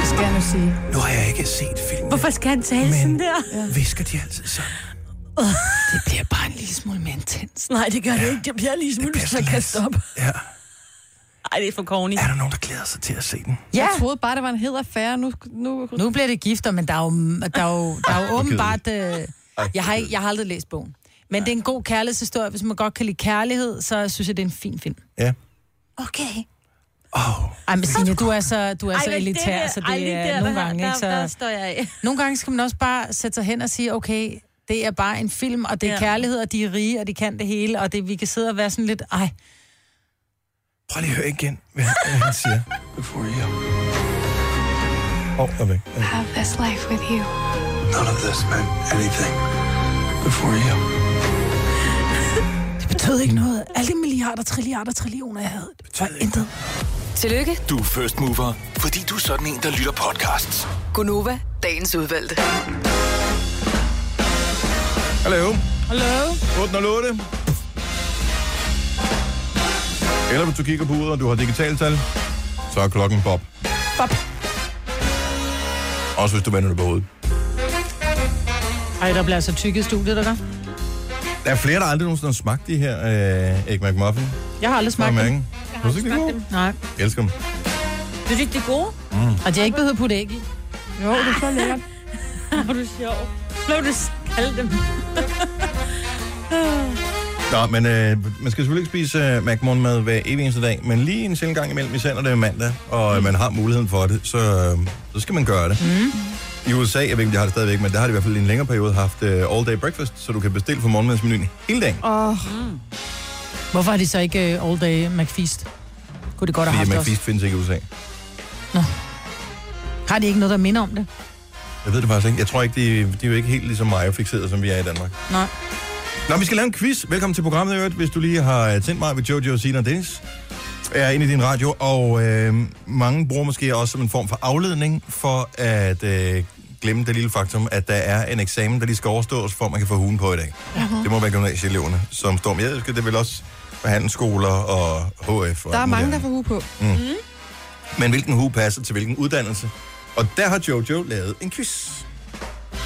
C: Det skal jeg nu sige.
L: Nu har jeg ikke set filmen.
D: Hvorfor skal han tale sådan der?
L: Visker de altid sammen?
B: Det bliver bare en lille smule mere intens.
D: Nej, det gør det ikke. Det bliver lige smule, så kan stoppe.
L: Ja.
D: Ej, det er for corny.
L: Er der nogen, der glæder sig til at se den?
B: Ja.
C: Jeg troede bare, det var en hed affære. Nu, nu...
B: Nu bliver det gifter, men der er jo, der er jo, der er jo åbenbart... Øh, jeg, har, ikke- jeg har aldrig læst bogen. Men det er en god kærlighedshistorie. Hvis man godt kan lide kærlighed, så synes jeg, det er en fin film.
A: Ja.
D: Okay.
B: Ej, men Signe, du er så, du er
D: Ej,
B: så
D: men det
B: elitær,
D: der-
B: så
D: ej,
B: det
D: lige
B: er
D: der,
B: nogle
D: der-
B: gange...
D: der-
B: ikke,
D: der
B: så...
D: står jeg af.
B: Nogle gange skal man også bare sætte sig hen og sige, okay, det er bare en film, og det er
D: Ja.
B: kærlighed, og de er rige, og de kan det hele, og det, vi kan sidde og være sådan lidt, ej,
A: Prøv lige at høre igen, hvad hvad han siger.
L: Before you.
A: Åh, oh, okay.
M: Have this life with you.
L: None of this meant anything before you.
B: det betød ikke noget. Alle de milliarder, trilliarder, trillioner, jeg havde, det betød intet.
E: Tillykke,
F: Du er first mover, fordi du er sådan en, der lytter podcasts.
E: Gunova, dagens udvalgte.
A: Hallo,
B: Hallo?
A: 808. Eller hvis du kigger på uret, og du har digitaltal, så er klokken bob.
B: Bob.
A: Også hvis du vender det på hovedet.
B: Ej, der bliver altså tykket studiet, der gør.
A: Der er flere, der aldrig nogensinde har smagt de her øh, Egg McMuffin.
B: Jeg har aldrig smagt
A: Nå,
B: dem.
A: mange. Synes du ikke, de er gode?
B: Nej.
A: Jeg elsker dem.
D: Synes du ikke, det er gode?
A: Mm.
B: Og de har ikke behøvet at putte æg i.
C: Jo, det er så lækkert.
D: Hvor er du sjov. Blev du skaldt dem?
A: Nå, men øh, man skal selvfølgelig ikke spise øh, McMornmad hver evig eneste dag, men lige en sjældent gang imellem, især når det er mandag, og
B: Mm.
A: øh, man har muligheden for det, så, øh, så skal man gøre det. Mm. I USA, jeg ved ikke, om de har det stadigvæk, men der har de i hvert fald i en længere periode haft øh, all-day breakfast, så du kan bestille for morgenmadsmenuen hele dagen.
C: Åh,
B: Mm. Hvorfor har de så ikke uh, All Day McFeast? Kunne det godt have
A: Fordi
B: haft også.
A: McFeast findes ikke i USA.
B: Har de ikke noget, der minder om det?
A: Jeg ved det faktisk ikke. Jeg tror ikke, de, de er jo ikke helt ligesom mig fixeret, som vi er i Danmark.
B: Nej.
A: Nå, vi skal lave en quiz. Velkommen til programmet, i øvrigt, hvis du lige har øh, tændt mig ved Jojo, Sina og Dennis. Jeg er inde i din radio, og øh, mange bruger måske også som en form for afledning for at øh, glemme det lille faktum, at der er en eksamen, der lige skal overstås, for at man kan få hugen på i dag.
C: Mm.
A: Uh-huh. Det må være gymnasieeleverne, som står med. Jeg elsker det vel også for handelsskoler og HF. Og alt
C: der er
A: muligt
C: mange,
A: andet.
C: der får hue på.
A: Men hvilken hue passer til hvilken uddannelse? Og der har Jojo lavet en quiz.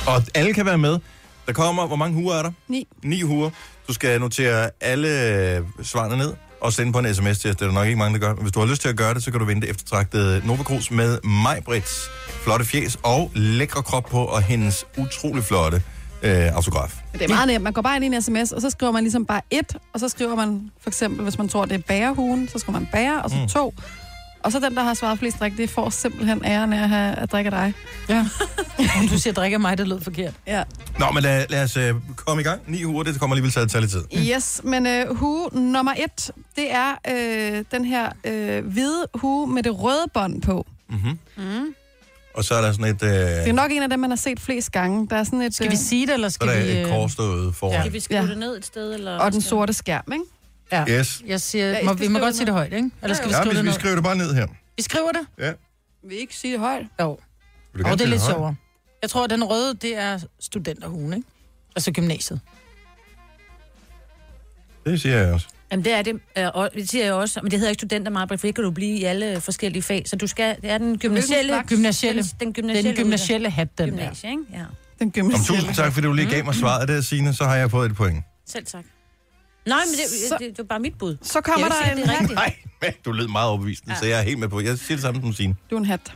A: Og alle kan være med. Der kommer, hvor mange huer er der?
C: Ni.
A: Ni huer. Du skal notere alle øh, svarene ned og sende på en sms til os. Det er der nok ikke mange, der gør. Men hvis du har lyst til at gøre det, så kan du vinde det eftertragtede Nova Cruz med Majbrits flotte fjes og lækre krop på og hendes utrolig flotte øh, autograf.
C: Det er meget nemt. Man går bare ind i en sms, og så skriver man
B: Mm.
C: ligesom bare et, og så skriver man for eksempel, hvis man tror, det er bærehuen, så skriver man bære, og så to, Og så den, der har svaret flest rigtigt, får simpelthen æren af at, have, at drikke dig.
B: Ja. Om du siger drikke mig, det lød forkert.
C: Ja.
A: Nå, men lad, lad os øh, komme i gang. Ni uger, det kommer alligevel til at tage lidt tid.
C: Yes, men øh, hue nummer et, det er øh, den her øh, hvide hue med det røde bånd på.
A: Mm-hmm.
C: Mm.
A: Og så er der sådan et... Øh,
C: Det er nok en af dem, man har set flest gange. Der er sådan et, øh,
B: Skal vi sige det, eller
A: så er der et kors derude foran.
C: Ja.
A: Ja.
D: Skal vi skrive ja. det ned et sted? Eller
C: Og den sorte skærm, ikke?
B: Ja.
A: Yes.
B: Jeg siger,
C: Ja, I
B: ja, må,
C: skal
B: vi må
C: skrive
B: godt sige det højt, ikke? Eller skal vi skrive
A: ja,
B: det
A: vi, vi
B: ned?
A: skriver det bare ned her.
B: Vi skriver det?
A: Ja.
C: Vil I ikke sige det højt?
B: Jo.
A: Vil
B: Og
A: du
B: det
A: gerne
B: er
A: sige
B: lidt
A: højt?
B: sjovere. Jeg tror, at den røde, det er studenterhuen, ikke? Altså gymnasiet.
A: Det siger jeg også.
D: Jamen, det er det. øh, Og det siger jeg også. Men det hedder ikke studenter meget, for det kan du blive i alle forskellige fag. Så du skal... Det er den gymnasielle...
B: slags? Gymnasielle.
D: Den, den gymnasielle,
B: Den gymnasielle hat, den der.
D: Gymnasie, ikke? Ja.
C: Den
A: Om tusind tak, fordi du lige gav mig
B: Mm.
A: svaret der, Signe, så har jeg fået et point.
D: Selv tak. Nej, men det,
C: Så-
D: det, det, var bare mit bud.
C: Så kommer
D: Jeg vil
C: der
D: sige,
C: en
D: at det er rigtigt.
A: Nej, men du lød meget overbevisende, ja. så jeg er helt med på. Jeg siger det samme som Signe.
C: Du er en hat.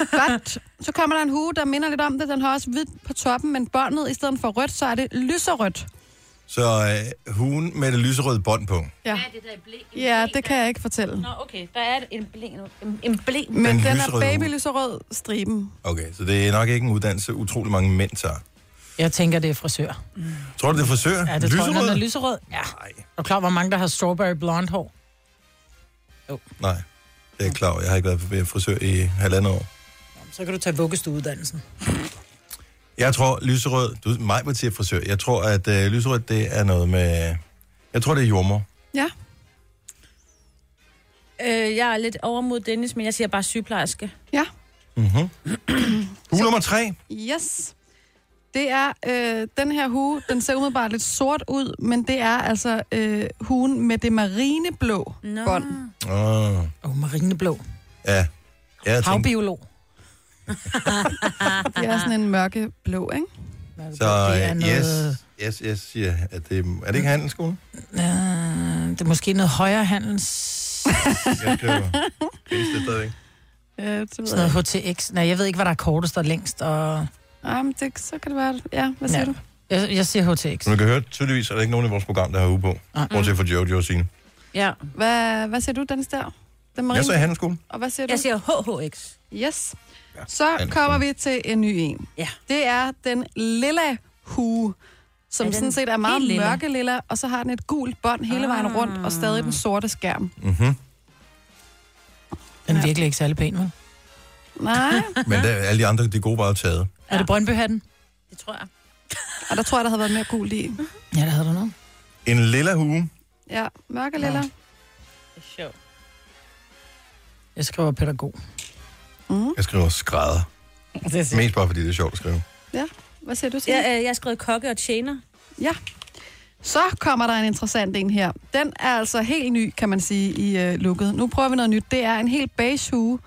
C: Godt. Så kommer der en hue, der minder lidt om det. Den har også hvid på toppen, men båndet i stedet for rødt, så er det lyserødt.
A: Så øh, hun med det lyserøde bånd på.
C: Ja.
D: Hvad er det der i blæ?
C: Ja, det kan jeg ikke fortælle.
D: Nå, okay. Der er en blæ nu. En, en blæ.
C: Men
A: Den
C: den, den er
A: lyserøde hue.
C: babylyserød striben.
A: Okay, så det er nok ikke en uddannelse, utrolig mange mænd tager.
B: Jeg tænker, det er frisør.
A: Tror du, det er frisør?
B: Ja, det tror jeg, når den er lyserød. Ja. Er du klar, hvor mange, der har strawberry blonde hår?
A: Nej, det er jeg klar over. Jeg har ikke været ved frisør i halvandet år.
B: Så kan du tage vuggestueuddannelsen.
A: Jeg tror, lyserød... Du mig på til frisør. Jeg tror, at øh, lyserød, det er noget med... Jeg tror, det er jordmor.
C: Ja.
D: Øh, jeg er lidt over mod Dennis, men jeg siger bare sygeplejerske.
C: Ja.
A: Mm-hmm. Hue nummer tre.
C: Yes. Det er øh, den her hue, den ser umiddelbart lidt sort ud, men det er altså øh, huen med det marineblå
D: Nå.
C: bånd.
A: Åh, oh,
B: Og marineblå.
A: ja. Jeg tænkte,
B: Havbiolog.
C: Det er sådan en mørkeblå, ikke?
A: så
B: Det er
A: øh,
B: noget-
A: yes, yes, yes, siger, at det, er det ikke handelsskolen?
B: Uh, det er måske noget højere handels...
A: Jeg skriver. Findes det stadigvæk?
C: Ja, det ved
B: Sådan
C: jeg.
B: noget HTX. Nej, jeg ved ikke, hvad der er kortest og længst. Og...
C: Jamen, det, så kan det være. Ja, hvad siger
B: Ja.
C: ja. du?
B: Jeg, jeg siger HTX.
A: Som du kan høre, tydeligvis er der ikke nogen i vores program, der har uge på.
B: Nej.
A: Bortset fra Jojo og Signe.
D: Ja.
C: Hvad, hvad siger du, Dennis der? Den marine...
A: Jeg sagde handelsskolen.
C: Og hvad siger du?
D: Jeg siger HHX.
C: Yes. Så kommer vi til en ny en.
D: Ja.
C: Det er den lilla hue, som
D: Er
C: ja,
D: den
C: sådan set er meget
D: helt lilla? Ah.
C: mørke lilla, og så har den et gult bånd hele vejen rundt, og stadig den sorte skærm.
A: Mm-hmm.
B: Den er virkelig ikke særlig pæn, vel?
C: Nej,
A: Men der, alle de andre, de gode var jo taget.
B: Er det Brøndbyhatten?
D: Det tror jeg.
C: og der tror jeg, der havde været mere gult i.
B: Ja, der havde du noget.
A: En lilla hue.
C: Ja, mørke lilla.
D: Det er sjovt.
B: Jeg skriver pædagog.
A: Jeg skriver skrædder. Mest bare, fordi det er sjovt at skrive.
C: Hvad siger du, Signe?
D: Jeg, øh, jeg har skrevet kokke og tjener.
C: Ja. Så kommer der en interessant en her. Den er altså helt ny, kan man sige, i øh, lukket. Nu prøver vi noget nyt. Det er en helt beige hue,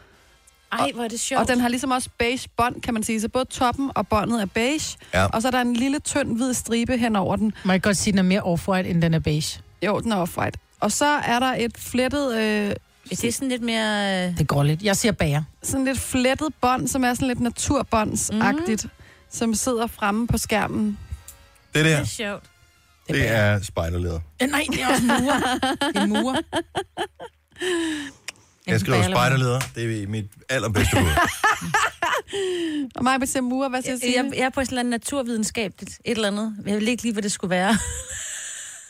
D: Ej, hvor er det sjovt.
C: og den har ligesom også beige bånd, kan man sige. Så både toppen og båndet er beige,
A: Ja.
C: og så er der en lille, tynd, hvid stribe hen over den.
B: Må jeg godt sige, den er mere off-white, end den er beige?
C: Jo, den er off-white. Og så er der et flettet, øh,
D: Det er sådan lidt mere... øh,
B: Det går lidt. Jeg siger bager.
C: sådan lidt flettet bånd, som er sådan lidt
B: Mhm.
C: naturbåndsagtigt, mm. som sidder fremme på skærmen.
A: Det
D: Det er
A: der,
D: sjovt.
B: er
A: det er spejderleder.
B: Eh, Nej, det er også murer. Det er murer.
A: Jeg skriver spejderleder. Det er mit allerbedste bud.
C: Og mig vil sige mur, hvad siger
D: Jeg,
C: Signe?
D: jeg, jeg er på et eller andet naturvidenskabeligt et eller andet. Jeg ved ikke lige, hvad det skulle være.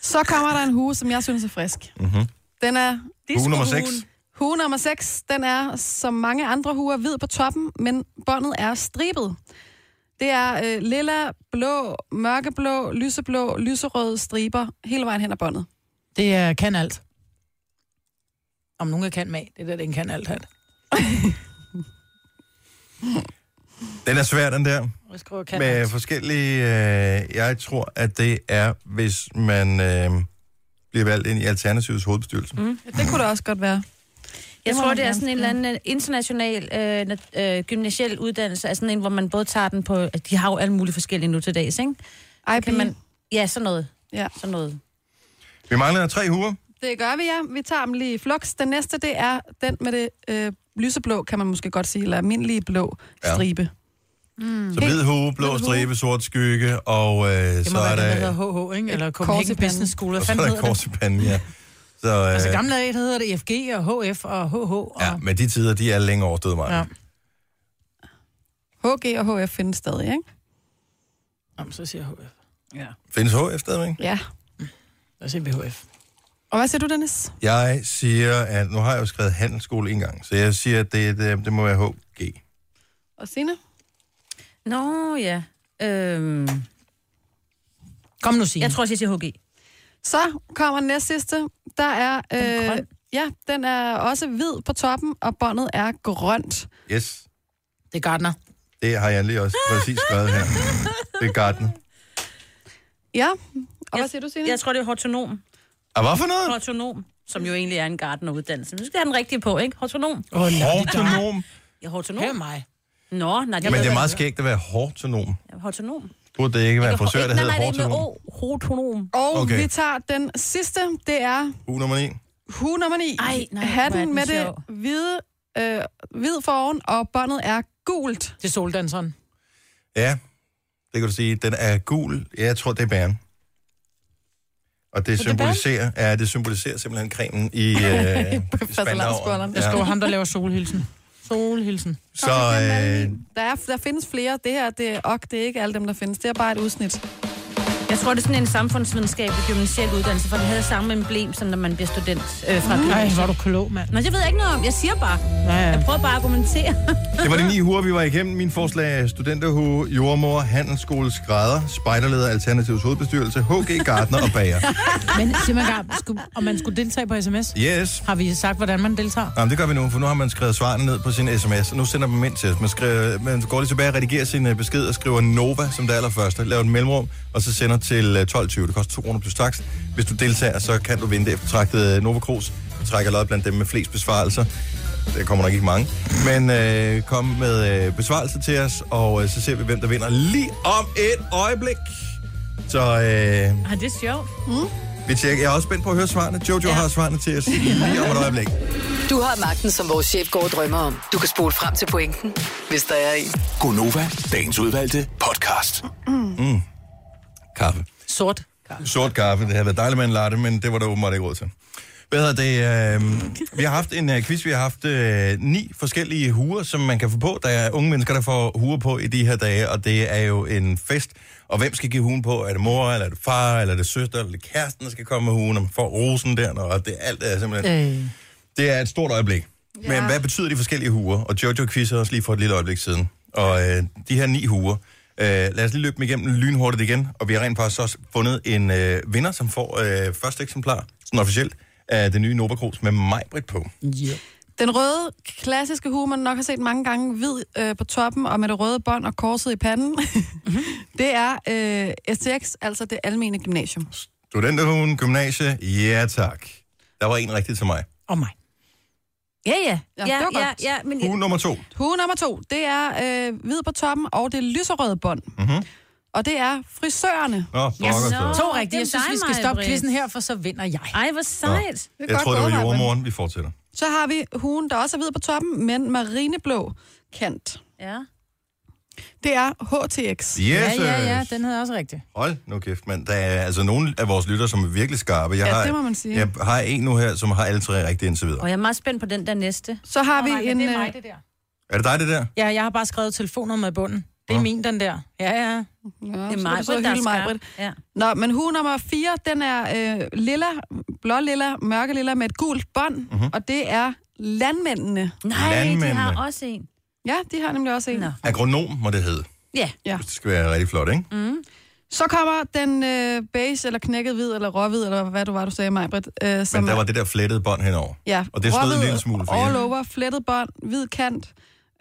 C: Så kommer der en hue, som jeg synes er frisk.
F: Mhm.
A: Mm-hmm.
C: Den er
A: Hue nummer 6.
C: Hue nummer 6, den er, som mange andre huer, hvid på toppen, men båndet er stribet. Det er øh, lilla, blå, mørkeblå, lyseblå, lyserøde striber hele vejen hen ad båndet.
B: Det er kan alt. Om nogen er kan mag. Det er der, den kan alt hat.
A: Den er svær, den der.
B: Jeg skriver kan
A: Med
B: alt.
A: forskellige... Øh, jeg tror, at det er, hvis man øh, bliver valgt ind i Alternativets hovedbestyrelse. Mm.
C: Ja, det kunne det også godt være.
D: Jeg
C: må
D: tror,
C: man
D: det er
C: gerne
D: sådan en eller anden øh, international øh, nat- øh, gymnasiel uddannelse, altså sådan en, hvor man både tager den på... De har jo alle mulige forskellige nu til dags, ikke?
C: Ej,
D: Kan man, ja, sådan noget.
C: Ja.
D: Sådan noget.
A: Vi mangler tre huer.
C: Det gør vi, ja. Vi tager dem lige i flux. Den næste, det er den med det øh, lyseblå, kan man måske godt sige, eller almindelige blå
A: Ja.
C: stribe.
A: Så Mm. hvid hue, blå stribe, sort skygge, og øh,
B: Det
A: så
B: må
A: er
B: være den, der
A: der...
B: hedder HH, ikke? Eller
C: Et kors i
B: Copenhagen
C: panden.
B: Business School. Hvad
A: Og så er
B: fanden
A: der
B: hedder
A: kors i panden, ja. Så, øh,
B: Altså gamle dage, der hedder det FG og HF og HH. Og...
A: Ja, men de tider, de er længe overstået mig. Ja.
C: HG og HF findes stadig, ikke?
B: Jamen, så siger jeg HF. Ja.
A: Findes HF stadigvæk?
C: Ja.
B: Lad os se VHF.
C: Og hvad siger du, Dennis?
A: Jeg siger, at nu har jeg jo skrevet handelsskole en gang, så jeg siger, at det, det, det må være HG.
C: Og Signe?
D: Nå, ja. Øhm...
B: Kom nu, Signe.
D: Jeg tror, jeg siger HG.
C: Så kommer den næste sidste. Der er... Øh, ja, den er også hvid på toppen, og båndet er grønt.
A: Yes,
B: Det er Gardner.
A: det har jeg lige også præcis skrevet her. Det er Gartner.
C: Ja. Og hvad siger du, Signe?
D: Jeg tror, det er hortonom.
A: Og Ah, hvad for noget?
D: Hortonom, som jo egentlig er en gardeneruddannelse. Nu skal have den rigtige på, ikke? Hortonom.
A: Åh, nej, det er Hortonom? dig.
D: Ja, hortonom.
B: Hør mig.
D: Nå, nej.
A: Men det er meget skægt at være hårdtonom.
D: Hortonom.
A: Burde det ikke være en frisør, der
D: nej,
A: hedder
D: nej, det er med
A: hårdtonom?
D: O. Hortonom.
C: Og
A: Okay.
C: okay. vi tager den sidste. Det er
A: U nummer 1.
C: hue nummer 9.
D: Ej, nej, hvor er
C: Hatten
D: den
C: med det
D: sjov.
C: hvide, øh, hvid foroven, og båndet er gult.
B: Det er soldanseren.
A: Ja, det kan du sige. Den er gul. Ja, jeg tror, det er bæren.
B: det
A: Og det
B: bæren?
A: symboliserer, ja, det symboliserer simpelthen cremen i, øh, i spandauer.
B: Det står ham, der laver solhilsen. Solhilsen.
A: Så øh,
C: Der, er, der findes flere. Det her, det er, og det er ikke alle dem, der findes. Det er bare et udsnit.
D: Jeg tror, det er sådan en samfundsvidenskabelig gymnasial uddannelse, for den havde samme emblem, som når man bliver student øh, fra
B: Nej,
D: gymnasiet.
B: hvor er du klog, mand.
D: Nå, det ved jeg ikke noget om. Jeg siger bare.
B: Ja, ja.
D: Jeg prøver bare at argumentere.
A: det var de ni huer, vi var igennem. Min forslag er studenterhue, jordmor, handelsskole, skrædder, spejderleder, alternativs hovedbestyrelse, HG, Gardner og bager.
B: Men sig mig gang, skulle, om man skulle deltage på sms?
A: Yes.
B: Har vi sagt, hvordan man deltager?
A: Jamen, det gør vi nu, for nu har man skrevet svarene ned på sin sms, og nu sender man dem ind til os. Man, skriver, man går lige tilbage og redigerer sin øh, besked og skriver NOVA som det allerførste, laver et mellemrum, og så sender til øh, 12.20. Det koster 2 kroner plus tax. Hvis du deltager, så kan du vinde det eftertragtede øh, Nova Cruz. Vi trækker lod blandt dem med flest besvarelser. Der kommer nok ikke mange. Men øh, kom med øh, besvarelser til os, og øh, så ser vi, hvem der vinder lige om et øjeblik. Så øh,
D: Har det er sjovt?
E: Mm.
A: vi tjekker. Jeg er også spændt på at høre svarene. Jojo ja. har svarene til os lige om et øjeblik.
E: Du har magten, som vores chef går og drømmer om. Du kan spole frem til pointen, hvis der er en.
F: Gonova, dagens udvalgte podcast.
A: Mm. Kaffe.
B: Sort.
A: Sort kaffe. Det havde været dejligt med en latte, men det var der åbenbart ikke råd til. Hvad hedder det? Øh, vi har haft en øh, quiz. Vi har haft øh, ni forskellige huer, som man kan få på. Der er unge mennesker, der får huer på i de her dage, og det er jo en fest. Og hvem skal give huen på? Er det mor, eller er det far, eller er det søster, eller er det kæresten, der skal komme med huen, og man får rosen der, og det alt er simpelthen...
B: Øh.
A: Det er et stort øjeblik. Ja. Men hvad betyder de forskellige huer? Og Jojo quizzer os lige for et lille øjeblik siden. Og øh, de her ni huer, øh, lad os lige løbe dem igennem lynhurtigt igen. Og vi har rent faktisk også fundet en øh, vinder, som får øh, første eksemplar, sådan officielt, af det nye Nova Cruz med Majbrit på.
B: Yeah.
C: Den røde, klassiske hue, man nok har set mange gange, hvid øh, på toppen og med det røde bånd og korset i panden, mm-hmm. det er øh, STX, altså det almene gymnasium.
A: Studenterhuen, gymnasie, ja tak. Der var en rigtig til mig. Mhm.
B: Og mig.
D: Ja, ja.
C: Ja, det var
D: ja,
C: godt.
D: ja, men...
A: Hue nummer to.
C: Hue nummer to, det er øh, hvid på toppen og det lyserøde bånd.
A: Mm-hmm.
C: Og det er frisørerne.
A: Nå, pokker så.
B: To rigtige. Jeg synes,
D: dig,
B: vi skal stoppe
D: Maj-Brit.
B: quizzen her, for så vinder jeg.
D: Ej, hvor sejt.
C: Det er
A: Jeg
C: godt
A: troede, det var
C: gået, Maja.
A: jordmoren. Vi fortsætter.
C: Så har vi huen, der også er hvid på toppen, men marineblå kant.
D: Ja.
C: Det er HTX.
A: Yes,
B: Ja, ja,
A: øh,
B: ja. Den hedder også rigtigt.
A: Hold nu kæft, mand. Der er altså nogle af vores lytter, som er virkelig skarpe. Jeg
C: Ja,
A: har,
C: det må man sige.
A: Jeg har en nu her, som har alle tre rigtigt indtil videre.
D: Og jeg er meget spændt på den der næste.
C: Så har vi en...
B: det er
C: øh,
B: mig, det der.
A: Er det dig, det der?
B: Ja, jeg har bare skrevet telefonnummeret i bunden. Det er
A: Nå.
B: min, den der. Ja, ja.
C: Ja,
D: Det er
C: så kan du
D: mig,
C: sidde og
D: der er
C: hylde mig, Britt.
D: skarp. Ja.
C: Nå, men hue nummer 4, den er øh, lilla, blålilla, mørkelilla med et gult bånd, mm-hmm. og det er landmændene.
D: Nej, de
A: Mhm. Landmændene.
D: har også en.
C: Ja, de har nemlig også en.
D: Nå.
A: Agronom må det hedde.
D: Ja. Mm.
C: Ja.
A: Det skal være rigtig flot, ikke?
C: Så kommer den øh, beige, eller knækket hvid, eller råhvid, eller hvad du var, du sagde, mig, Britt. Øh,
A: Men der var det der flettede bånd henover.
C: ja,
A: og det snød en
C: råhvid,
A: lille smule for
C: All
A: jer.
C: over, flettet bånd, hvid kant.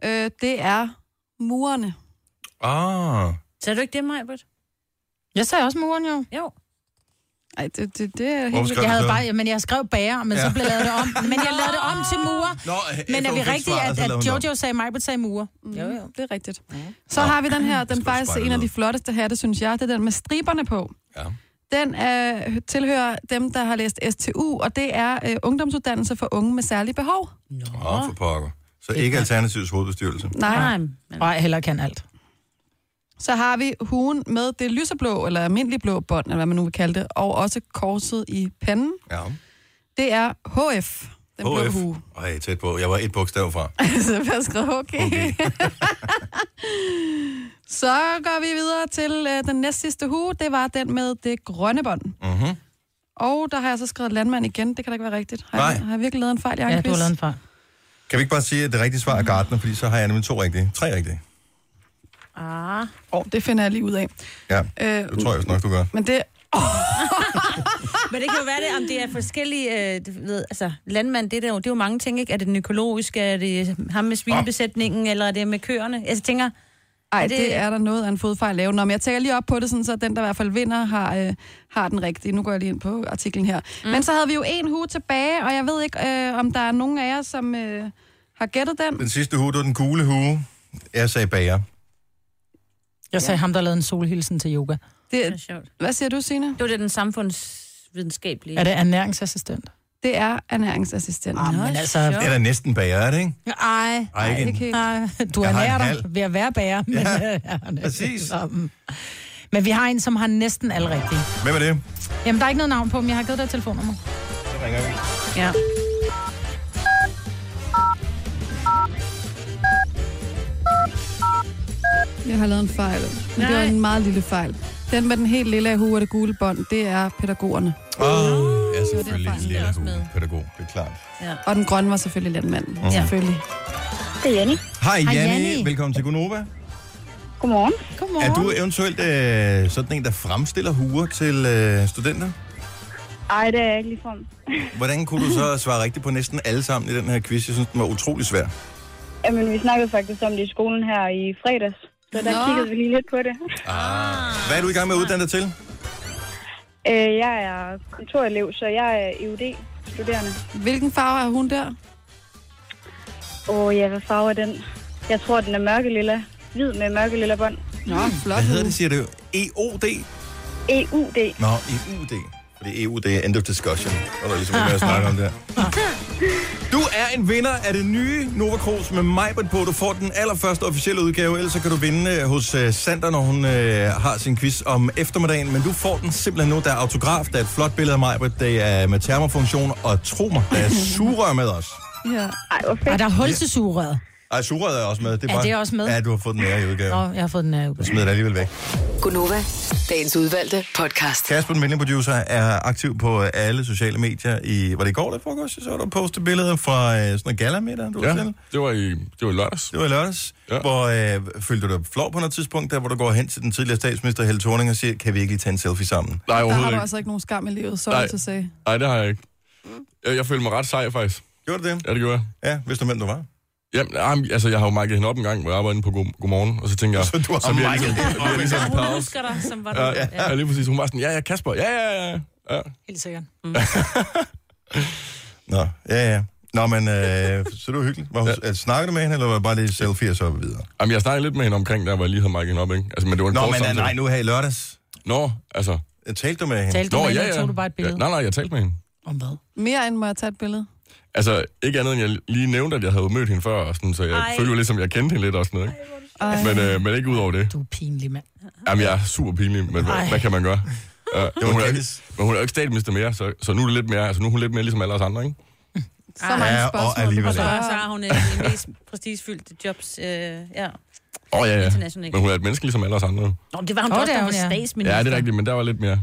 C: Øh, det er murerne.
A: Ah,
D: Sagde du ikke det, Majbert?
B: Jeg sagde også muren, jo.
D: Jo.
C: Ej, det, det, det er
A: Hvorfor
C: helt...
A: skrev
B: Jeg
A: du
B: havde
A: så?
B: bare, men jeg skrev bager, men ja.
A: Ja.
B: så blev lavet det om. Men jeg lavede det om til murer.
A: Nå,
B: Men
A: efter
B: er
A: hun
B: vi
A: fik
B: rigtige,
A: svaret,
B: at,
A: så lavede
B: at
A: hun
B: Jojo sagde mig, sagde murer? Jo, jo.
C: Mm. Det er rigtigt. Så har vi den her, den faktisk er en af de flotteste hatte, synes jeg. Det er den med striberne på.
A: Ja.
C: Den øh, tilhører dem, der har læst STU, og det er øh, ungdomsuddannelse for unge med særlige behov.
A: den. Åh, for pokker. Så ikke Alternativets hovedbestyrelse.
C: Nej.
D: Nej.
B: Nej, heller kan alt.
C: Så har vi huen med det lyseblå, eller almindelig blå bånd, eller hvad man nu vil kalde det, og også korset i panden.
A: Ja.
C: Det er HF. Den blå
A: HF.
C: hue.
A: Ej, tæt på. Jeg var et bogstav fra.
C: Altså, hvad skrev okay. okay. Så går vi videre til øh, den næst sidste hue. Det var den med det grønne bånd.
A: Mm-hmm.
C: Og der har jeg så skrevet landmand igen. Det kan da ikke være rigtigt. Har,
A: Nej.
C: Jeg, har jeg virkelig lavet en fejl i
B: Ja, du har lavet en
C: fejl.
A: Kan vi ikke bare sige, at det rigtige svar er Gartner, fordi så har jeg nemlig to rigtige. Tre rigtige.
C: Ah. Oh, det finder jeg lige ud af.
A: Ja, det
C: Øh,
A: tror jeg også nok, du gør.
C: Men det...
D: Men det kan jo være det, om det er forskellige, øh, du ved, altså landmand, det er, jo, det er jo mange ting, ikke? Er det den økologiske, er det ham med svinebesætningen, eller er det med køerne? Altså, Jeg tænker,
C: Ej,
D: er
C: det... det er der noget af en fodfejl at lave. Nå, men jeg tæller lige op på det, sådan, så den, der i hvert fald vinder, har, øh, har den rigtige. Nu går jeg lige ind på artiklen her. Mm. Men så havde vi jo en hue tilbage, og jeg ved ikke, øh, om der er nogen af jer, som øh, har gættet den.
A: Den sidste hue, det var den gule hue. Jeg sagde bager.
B: Jeg sagde ja. ham, der lavede en solhilsen til yoga.
C: Det, er sjovt. Hvad siger du, Signe?
D: Det var det, den samfundsvidenskabelige.
B: Er det ernæringsassistent?
C: Det er ernæringsassistent.
B: Ah, men altså...
A: Det er da næsten bager, er det ikke?
B: Ej,
A: Ej, ikke en-
B: Nej, du
A: Jeg har en
B: ernærer
A: halv.
B: dig ved at være bager. Men, øh,
A: Ja,
B: ja,
A: præcis.
B: mm. Men vi har en, som har næsten alle rigtige.
A: Hvem er det?
B: Jamen, der er ikke noget navn på, men jeg har givet dig et telefonnummer.
A: Så ringer vi.
B: Ja.
C: Jeg har lavet en fejl. Men det var
D: Nej.
C: en meget lille fejl. Den med den helt lille hue og det gule bånd, det er pædagogerne.
A: Åh, oh, jeg er selvfølgelig en lille hue. Pædagog, det er klart.
C: Ja. Og den grønne var selvfølgelig landmanden.
A: Ja.
C: Ja. Selvfølgelig.
G: Det er Jenny.
A: Hej,
C: Hej,
A: Janni.
C: Janni.
A: Velkommen til Gunova.
G: Godmorgen.
A: Er du eventuelt øh, sådan en, der fremstiller huer til øh, studenter?
G: Ej, det er jeg ikke ligefrem.
A: Hvordan kunne du så svare rigtigt på næsten alle sammen i den her quiz? Jeg synes, den var utrolig svær.
G: Jamen, vi snakkede faktisk om det i skolen her i fredags. Så der
C: Nå.
G: kiggede vi lige lidt på det.
A: Ah. Hvad er du i gang med at uddanne dig til?
G: Øh, jeg er kontorelev, så jeg er E EUD-studerende.
C: Hvilken farve har hun der?
G: Åh, ja, hvad farve er den? Jeg tror, den er mørkelilla. Hvid med mørkelilla bånd.
C: Nå, flot.
A: Hvad hedder det, siger du? E EOD?
G: EUD.
A: Nå, EUD. Fordi EU, det er end of discussion. Og der er ligesom ikke mere at snakke om der. Du er en vinder af det nye Nova Cruz med Majbert på. Du får den allerførste officielle udgave, ellers så kan du vinde øh, hos øh, Sander, når hun øh, har sin quiz om eftermiddagen. Men du får den simpelthen nu. Der er autograf, der er et flot billede af Majbert, det er med termofunktion, og tro mig, der er surrør med os.
C: Ja.
G: Ej, hvor fedt.
B: Ej, der er hul til sugerøret.
A: Ej, surrøret er også med. Det er,
B: Er
A: bare,
B: det også med?
A: Ja, du har fået den nære i udgave.
B: Nå, jeg har fået den her
A: Du smider det alligevel væk.
E: Gunova, dagens udvalgte podcast.
A: Kasper, den venlige producer, er aktiv på øh, alle sociale medier. I, var det i går, der foregårs? Jeg så, du postede billeder fra øh, sådan en galamiddag, du var
I: Ja,
A: til.
I: det var i, det var i lørdags.
A: Det var i lørdags, ja. hvor øh, følte du dig flov på noget tidspunkt, der hvor du går hen til den tidligere statsminister Helle Thorning og siger, kan vi ikke lige tage en selfie sammen?
I: Nej,
C: Der har
I: overhovedet
C: du
I: ikke.
C: altså ikke nogen skam i livet, så
I: Nej.
C: at sige.
I: Nej, det har jeg ikke. Jeg, jeg følte mig ret sej, faktisk.
A: Gjorde du det?
I: Ja, det gjorde jeg.
A: Ja, vidste du, hvem du var?
I: Jamen, nej, men, altså, jeg har jo mærket hende op en gang, hvor jeg arbejdede inde på God, Godmorgen, og så tænker jeg...
A: Så du har
I: bliver jeg
A: mic'et
I: ligesom-
A: hende op
I: bliver jeg ligesom
A: en
D: Hun
I: pause.
D: husker dig, som var
I: Ja,
D: du.
I: ja, ja, lige præcis. Hun var sådan, ja, ja, Kasper, ja, ja, ja. ja.
B: Helt sikkert.
A: Mm. Nå, ja, ja. Nå, men øh, så det var hyggeligt. Var, ja. Snakkede du med hende, eller var det bare lige selfie og så videre?
I: Jamen, jeg snakkede lidt med hende omkring, der hvor jeg lige havde mærket hende op, ikke? Altså, men det var en
A: Nå,
I: kort
A: men øh,
I: samtale.
A: nej, nu her i lørdags.
I: Nå, altså...
A: Talte du med hende?
B: Talte du
I: Nå,
B: med
I: ja,
B: hende,
I: ja.
B: eller tog du bare et billede?
I: Ja, nej, nej, jeg talte med hende.
B: Om hvad?
C: Mere end må jeg tage et billede.
I: Altså, ikke andet end jeg lige nævnte, at jeg havde mødt hende før, og sådan, så jeg
D: Ej.
I: Ej. følte jo lidt, som jeg kendte hende lidt og sådan noget, ikke?
C: Ej.
I: Men, øh, men ikke ud over det.
B: Du er pinlig, mand.
I: Jamen, jeg er super pinlig, men
B: Ej.
I: hvad, hvad kan man gøre? Uh, men, hun er, jo ikke,
A: Dennis.
I: men hun er jo ikke statsminister mere, så, så nu er det lidt mere, altså nu er hun lidt mere ligesom alle os andre, ikke?
C: Så mange
A: Ja, og
C: spørgsmål. du
A: alligevel
D: Ah, Og så,
C: kan
D: så
C: spørge.
D: har hun et af de mest prestigefyldte jobs. Øh, ja.
I: Åh, oh, ja, ja.
D: International.
I: Men hun er et menneske ligesom alle os andre.
D: Nå, det var hun
B: Åh,
D: oh, også,
B: det er
D: der var
B: hun, ja.
D: statsminister.
I: Ja, det er rigtigt, men der var lidt mere.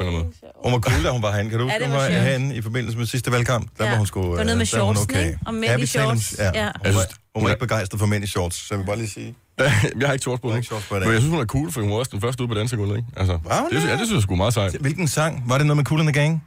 I: på en måde.
A: Hun var cool, da hun var herinde. Kan du huske,
D: det
A: hun
D: var
A: var
D: sjovt.
A: herinde i forbindelse med sidste valgkamp? Der
D: Ja.
A: var hun sgu...
D: Det var noget
A: øh,
D: med
A: der var hun
D: shortsen, ikke? Og mænd i
A: betalte hun-
D: shorts.
A: Ja,
D: Ja.
A: Hun, var,
I: Altså,
A: hun var ikke begejstret for mænd i shorts, så jeg vil bare lige sige...
I: jeg har ikke shorts på
A: har
I: nu.
A: ikke shorts på i dag.
I: Men jeg synes, hun er cool, for hun var også den første ude på dansegulvet, ikke? Altså,
A: Var hun
I: det,
A: det?
I: ja, det synes jeg sgu er meget sejt. Åh,
A: Hvilken sang? Var det noget med Cool and the Gang?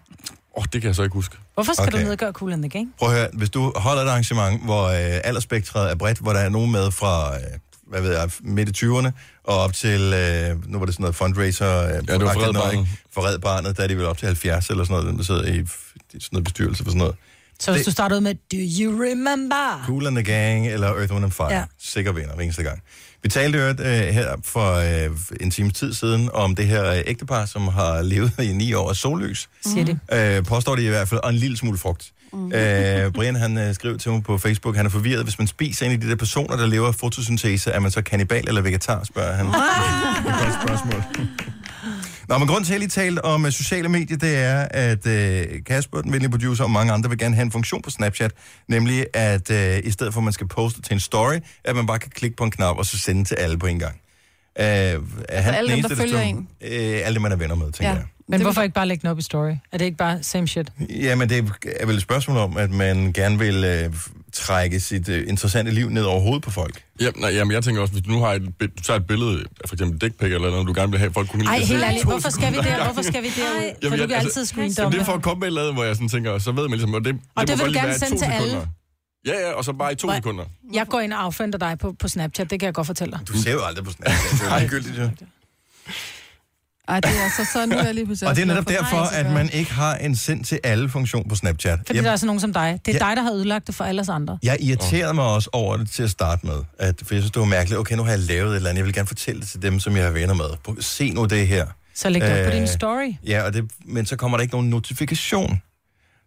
I: oh, det kan jeg så ikke huske.
B: Hvorfor skal okay.
A: Okay.
B: du nedgøre Cool and the Gang?
A: Prøv at høre, hvis du holder et arrangement, hvor øh, aldersspektret er bredt, hvor der er nogen med fra, øh, hvad ved jeg, midt i 20'erne, og op til, øh, nu var det sådan noget fundraiser... Øh, ja,
I: Red Barnet.
A: For Red Barnet, der er de vel op til 70 eller sådan noget, dem der sidder i f- i sådan noget bestyrelse for sådan noget.
B: Så hvis
A: Det-
B: du startede med, do you remember?
A: Cool and the Gang eller Earth, Wind and Fire. Ja.
B: Ja.
A: Sikker vinder hver eneste gang. Vi talte jo øh, her for øh, en times tid siden om det her øh, ægtepar, som har levet i ni år af sollys.
B: Siger det.
A: Øh, påstår de i hvert fald, og en lille smule frugt. Mm. Øh, Brian han øh, skrev til mig på Facebook, han er forvirret, hvis man spiser en af de der personer, der lever af fotosyntese, er man så kanibal eller vegetar, spørger han. Det er et godt spørgsmål. Nå, men grunden til, at jeg lige talte om øh, sociale medier, det er, at øh, Kasper, den venlige producer, og mange andre vil gerne have en funktion på Snapchat, nemlig at øh, i stedet for, at man skal poste til en story, at man bare kan klikke på en knap, og så sende til alle på en gang. Øh, er altså
C: alle dem, der følger
A: Øh, alle dem, man er venner med, tænker ja.
B: Ja.
A: jeg.
B: Men hvorfor ikke bare lægge den op i story? Er det ikke bare same shit?
A: Ja, men det er vel et spørgsmål om, at man gerne vil øh, trække sit øh, interessante liv ned over hovedet på folk.
I: Ja, nej, jamen, jeg tænker også, hvis du nu har et, bi- du tager et billede, af for eksempel et dick pic eller noget, du gerne vil have, folk kunne lide
B: Ej,
I: det, så
B: helt
I: er det
B: ærligt,
I: to
B: hvorfor skal vi
I: sekunder
B: der?
I: ad
B: Hvorfor
I: gangen.
B: skal vi derud? For
I: Jamen,
B: du kan
I: jeg- altså,
B: altid
I: Jamen,
B: screendomme.
I: Det er for at komme med et eller andet, hvor jeg sådan tænker, så ved man ligesom, og det,
B: Og
I: må
B: det vil
I: godt
B: du
I: lige
B: gerne
I: være i
B: sende
I: to
B: til alle.
I: sekunder. Ja, ja, og så bare i to
B: Nej.
I: sekunder.
B: Jeg går ind og affenter dig på, på Snapchat, det kan jeg godt fortælle dig.
A: Du ser jo aldrig på Snapchat. Det er ligegyldigt, jo.
C: Ej, det er så sådan, nu er jeg lige pludselig...
A: Og
C: også
A: det er
C: glad
A: netop
C: for.
A: derfor, at man ikke har en send til alle funktion på Snapchat.
B: Fordi
A: Jeg,
B: der er sådan nogen som dig. Det er
A: Ja.
B: dig, der har ødelagt det for alle os andre.
A: jeg irriterede mig også over det til at starte med, at, for jeg synes, det var mærkeligt. Okay, nu har jeg lavet et eller andet. Jeg vil gerne fortælle det til dem, som jeg har venner med. Prøv- Se nu det her.
B: Så læg det op på
A: Øh,
B: din story.
A: Ja, og det, men så kommer der ikke nogen notifikation.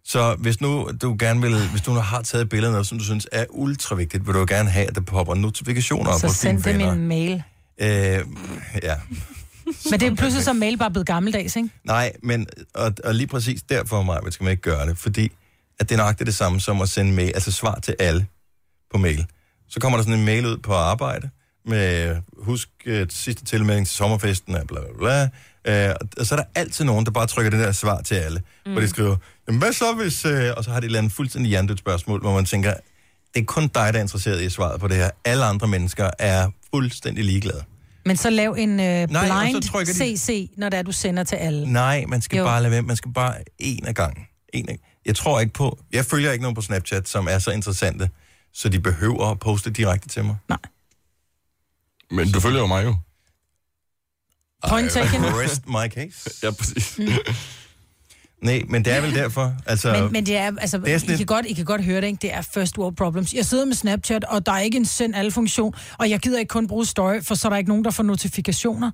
A: Så hvis nu du gerne vil, hvis du nu har taget et billede af noget, som du synes er ultra vigtigt, vil du jo gerne have, at der popper notifikationer op
B: Så
A: hos
B: send
A: dine
B: dem
A: venner.
B: en mail.
A: Øh, ja.
B: Men det er pludselig så mail bare blevet gammeldags, ikke?
A: Nej, men og, og lige præcis derfor, Maja, skal man ikke gøre det, fordi at det er nøjagtigt det samme som at sende mail, altså svar til alle på mail. Så kommer der sådan en mail ud på arbejde med, husk øh, sidste tilmelding til sommerfesten, og bla bla bla. Øh, og- og så er der altid nogen, der bare trykker det der svar til alle, mm. hvor de skriver, jamen hvad så hvis, øh, og så har de et eller andet fuldstændig hjernedødt spørgsmål, hvor man tænker, det er kun dig, der er interesseret i svaret på det her. Alle andre mennesker er fuldstændig ligeglade.
B: Men så lav en øh,
A: og så
B: blind
A: trykker de-
B: CC, når det er, du sender til alle.
A: Nej, man skal
B: Jo.
A: jo. bare lade være. Man skal bare en af gangen. En af... Jeg tror ikke på... Jeg følger ikke nogen på Snapchat, som er så interessante, så de behøver at poste direkte til mig.
B: Nej.
I: Men du følger jo mig jo.
B: Point taken.
A: Rest my case.
I: Ja, præcis.
B: Mm.
A: Nej, men det er vel derfor. Altså,
B: Men, men det er, altså,
A: Det
B: det
A: er
B: er
A: sådan
B: I,
A: et-
B: kan godt, I kan godt høre det, ikke? Det er first world problems. Jeg sidder med Snapchat, og der er ikke en send alle funktion, og jeg gider ikke kun bruge story, for så er der ikke nogen, der får notifikationer.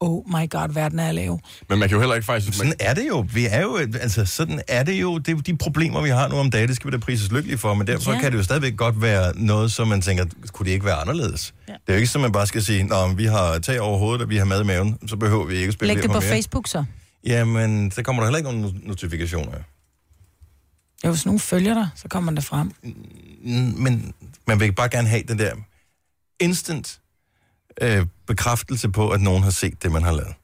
B: Oh my god, verden er lav.
I: Men man kan jo heller ikke faktisk...
A: Sådan er det jo. Vi er jo, altså, sådan er det jo. Det er jo de problemer, vi har nu om dagen, det skal vi da prises lykkelige for, men derfor
I: Ja.
A: ja. kan det jo stadigvæk godt være noget, som man tænker, kunne det ikke være anderledes? Ja. Det er jo ikke sådan, man bare skal sige, Nå, men vi har tag over hovedet, og vi har mad i maven, så behøver vi ikke at spille
B: Læg det på
A: mere.
B: Facebook så.
A: Jamen, så kommer der heller ikke nogen notifikationer.
B: Jo, hvis nogen følger dig, så kommer det frem.
A: N- Mm, men man vil bare gerne have den der instant øh, bekræftelse på, at nogen har set det, man har lavet.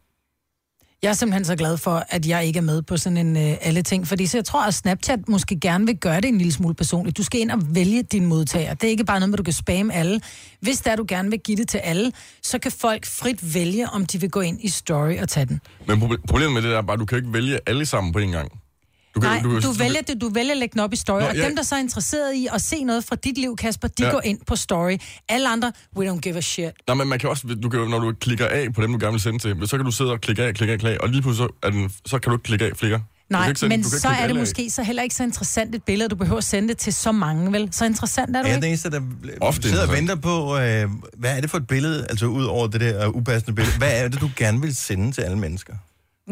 B: Jeg er simpelthen så glad for, at jeg ikke er med på sådan en øh, alle ting, fordi så jeg tror, at Snapchat måske gerne vil gøre det en lille smule personligt. Du skal ind og vælge din modtager. Det er ikke bare noget med, at du kan spamme alle. Hvis der du gerne vil give det til alle, så kan folk frit vælge, om de vil gå ind i story og tage den.
I: Men proble- problemet med det der er bare, at du kan jo ikke vælge alle sammen på en gang. Du
B: Nej,
I: kan,
B: du,
I: kan-
B: vælger det, du vælger at lægge den op i story,
I: Nå,
B: Nå, og
I: ja.
B: dem, der så er interesseret i at se noget fra dit liv, Kasper, de
I: Ja.
B: ja. går ind på story. Alle andre, we don't give a shit.
I: Nej, men man kan også, du kan, jo- når du klikker af på dem, du gerne vil sende til, så kan du sidde og klikke af, klikke af, klikke af, og lige pludselig så, er den, så kan du ikke klikke af flere. Du kan
B: Nej,
I: ikke sende-
B: men
I: du kan ikke
B: så
I: klikke
B: er det
I: alle af.
B: måske så heller ikke så interessant et billede, at du behøver at sende det til så mange, vel? Så interessant er du
A: Er jeg den
B: ikke?
A: eneste, der
I: Ofte
A: Ofte sidder og
I: interessant.
A: venter på, øh, hvad er det for et billede, altså ud over det der øh, upassende billede, hvad er det, du gerne vil sende til alle mennesker?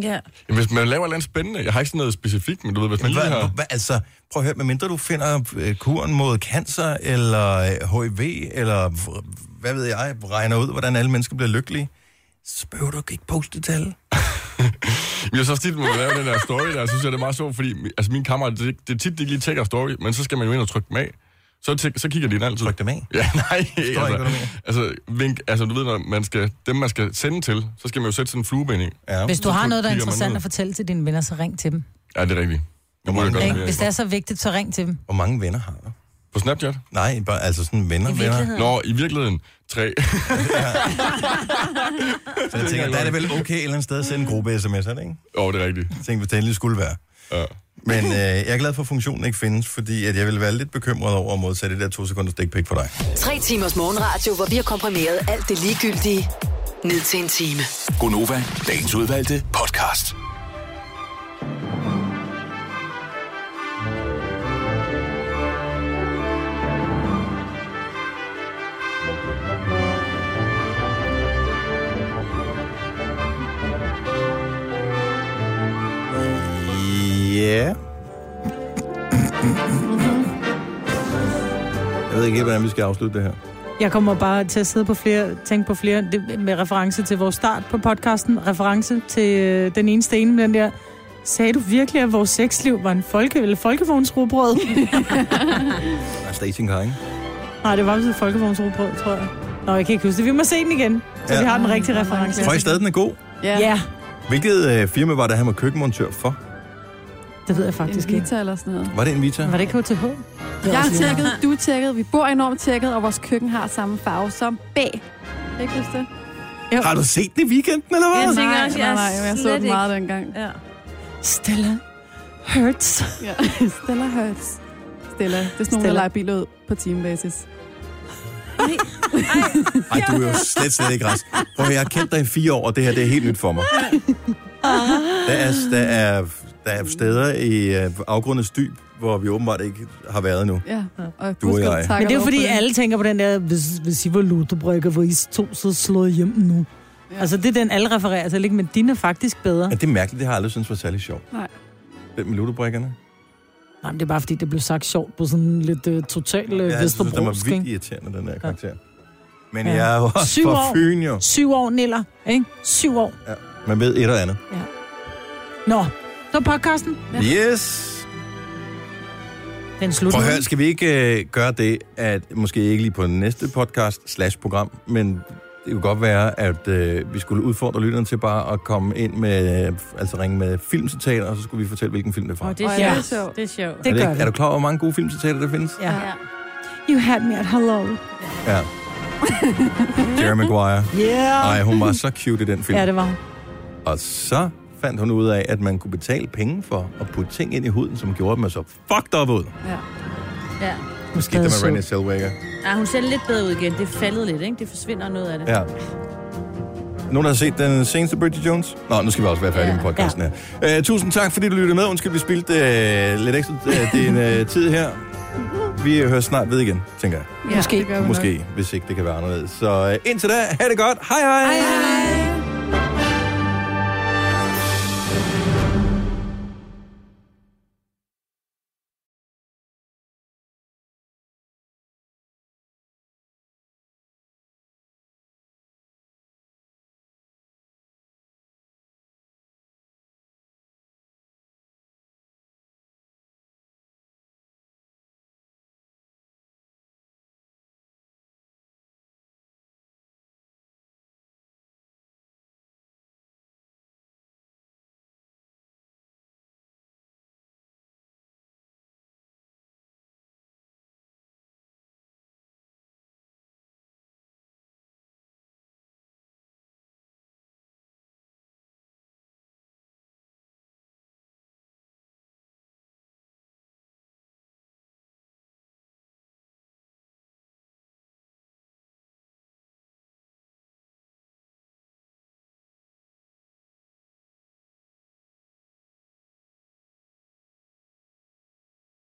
D: Ja.
I: Jamen, Hvis man laver et eller andet spændende, jeg har ikke sådan noget specifikt, men du ved, hvis man
A: Hvad,
I: lige har...
A: hvad, altså, prøv at høre, medmindre du finder øh, kuren mod cancer, eller øh, HIV, eller v- hvad ved jeg, regner ud, hvordan alle mennesker bliver lykkelige, så behøver du ikke poste det til alle.
I: Men jeg så tit, når man laver den der story der, så synes jeg, det er meget sjovt, fordi altså, mine kammerater, det, det er tit, de ikke lige tjekker story, men så skal man jo ind og trykke dem af. Så, tæk, så kigger de den altid. Tryk
A: dem af?
I: Ja, nej. Ikke,
A: hvad du
I: altså,
A: mener.
I: altså, vink, altså, du ved, når man skal, dem man skal sende til, så skal man jo sætte sådan en flueben i.
A: Ja.
B: Hvis du har noget, der er interessant at
I: for...
B: fortælle til dine venner, så ring til dem.
I: Ja, det er rigtigt. Jeg burde gøre
B: Ikke?
I: mere.
B: Hvis det er så vigtigt, så ring til dem.
A: Hvor mange venner har du?
I: På Snapchat?
A: Nej, bare, altså sådan venner,
B: I
A: venner.
B: virkeligheden.
I: Nå, i virkeligheden, tre.
A: Så jeg tænker, der er det vel okay et eller andet sted at sende en gruppe sms'er, ikke?
I: Jo, det er rigtigt.
A: Jeg tænkte, hvis det endelig skulle være.
I: Ja.
A: Men øh, jeg er glad for, at funktionen ikke findes, fordi at jeg ville være lidt bekymret over at modtage det der to sekunders dick pic for dig.
E: Tre timers morgenradio, hvor vi har komprimeret alt det ligegyldige ned til en time.
F: Gonova, dagens udvalgte podcast.
A: Ja. Jeg ved ikke helt, hvordan vi skal afslutte det her.
B: Jeg kommer bare til at sidde på flere, tænke på flere, det, med reference til vores start på podcasten, reference til øh, den ene sten med den der, sagde du virkelig, at vores sexliv var en folke, eller folkevognsrugbrød?
A: Altså, der er ikke ikke?
B: Nej, det var vist et folkevognsrugbrød, tror jeg. Nå, jeg kan ikke huske det. Vi må se den igen, så
A: Ja.
B: ja. vi har den rigtige reference.
A: Tror I stadig, den er god?
B: Ja. ja.
A: Hvilket øh, firma var det, han var køkkenmontør for?
B: Det ved jeg faktisk
C: ikke. Vita eller sådan noget.
A: Var det Invita?
B: Var det ikke HTH?
C: Jeg har
B: også lige
C: tjekket, du er tjekket, vi bor enormt tjekket, og vores køkken har samme farve som bag. Kan I Ikke huske det?
A: Har du set den i weekenden, eller hvad?
C: Ja,
D: tænker
C: nej,
D: også,
C: nej,
D: jeg
C: nej, men jeg så
D: slet
C: det meget
D: ikke.
C: dengang.
D: Ja.
B: Stella Hurts.
C: Ja, Stella Hurts. Stella, det er sådan nogle, der
B: Stella.
C: leger biler ud på timebasis.
A: Ej, du er jo slet, slet ikke rask. Prøv at høre, jeg har kendt dig i fire år, og det her det er helt nyt for mig. Der er, der er, der er steder i øh, afgrundets dyb, hvor vi åbenbart ikke har været endnu.
C: Ja, og
A: Du og jeg.
B: Men det er jo fordi, alle tænker på den der, hvis, hvis I var lutebrikker, hvor I to så slår I hjem nu. Ja. Altså, det er den, alle refererer til, ikke? men din er faktisk bedre.
A: Ja, det er mærkeligt, det har jeg aldrig syntes var særlig sjovt.
C: Nej.
A: Den med ludobrikkerne.
B: Nej, men det er bare fordi, det blev sagt sjovt på sådan lidt uh, total uh,
A: Jeg synes, den var
B: Vesterbrosk,
A: vildt
B: ikke?
A: irriterende, den der karakter. Ja. Men
B: Ja.
A: jeg er jo også
B: Syv
A: fra
B: år.
A: Fyn, jo.
B: Syv år, Niller, ikke? Syv år.
A: Man ved et eller andet.
B: Nå, så er podcasten.
A: Yes!
B: Den slutter.
A: Prøv at
B: nu.
A: høre, skal vi ikke øh, gøre det, at måske ikke lige på næste podcast slash program, men det kunne godt være, at øh, vi skulle udfordre lytterne til bare at komme ind med, øh, altså ringe med filmcitater, og så skulle vi fortælle, hvilken film det er fra.
D: Åh, det er
B: Åh,
D: sjovt.
B: ja.
D: Det er sjovt. Det er sjovt.
A: er, ikke, er du klar over, hvor mange gode filmcitater der findes?
B: Ja. You had me at hello.
A: Ja. Jerry Maguire.
B: Yeah.
A: Ej, hun var så cute i den film.
B: Ja, det var hun.
A: Og så fandt hun ud af, at man kunne betale penge for at putte ting ind i huden, som gjorde dem så fucked up ud.
C: Ja.
D: ja.
A: Måske det med
D: sød.
A: Renée Zellweger.
D: Ah, hun ser lidt bedre ud igen. Det er faldet lidt, ikke? Det forsvinder noget af det.
A: Ja. Nogen, der har set den seneste Bridget Jones? Nå, nu skal vi også være færdige ja. med podcasten her. Uh, tusind tak, fordi du lyttede med. Undskyld, vi spildte uh, lidt ekstra uh, din uh, tid her. Vi høres snart ved igen, tænker jeg.
C: Ja, Måske. det gør vi nok.
A: øh, Måske, hvis ikke det kan være anderledes. Så uh, indtil da, ha' det godt. Hej hej. hej, hej.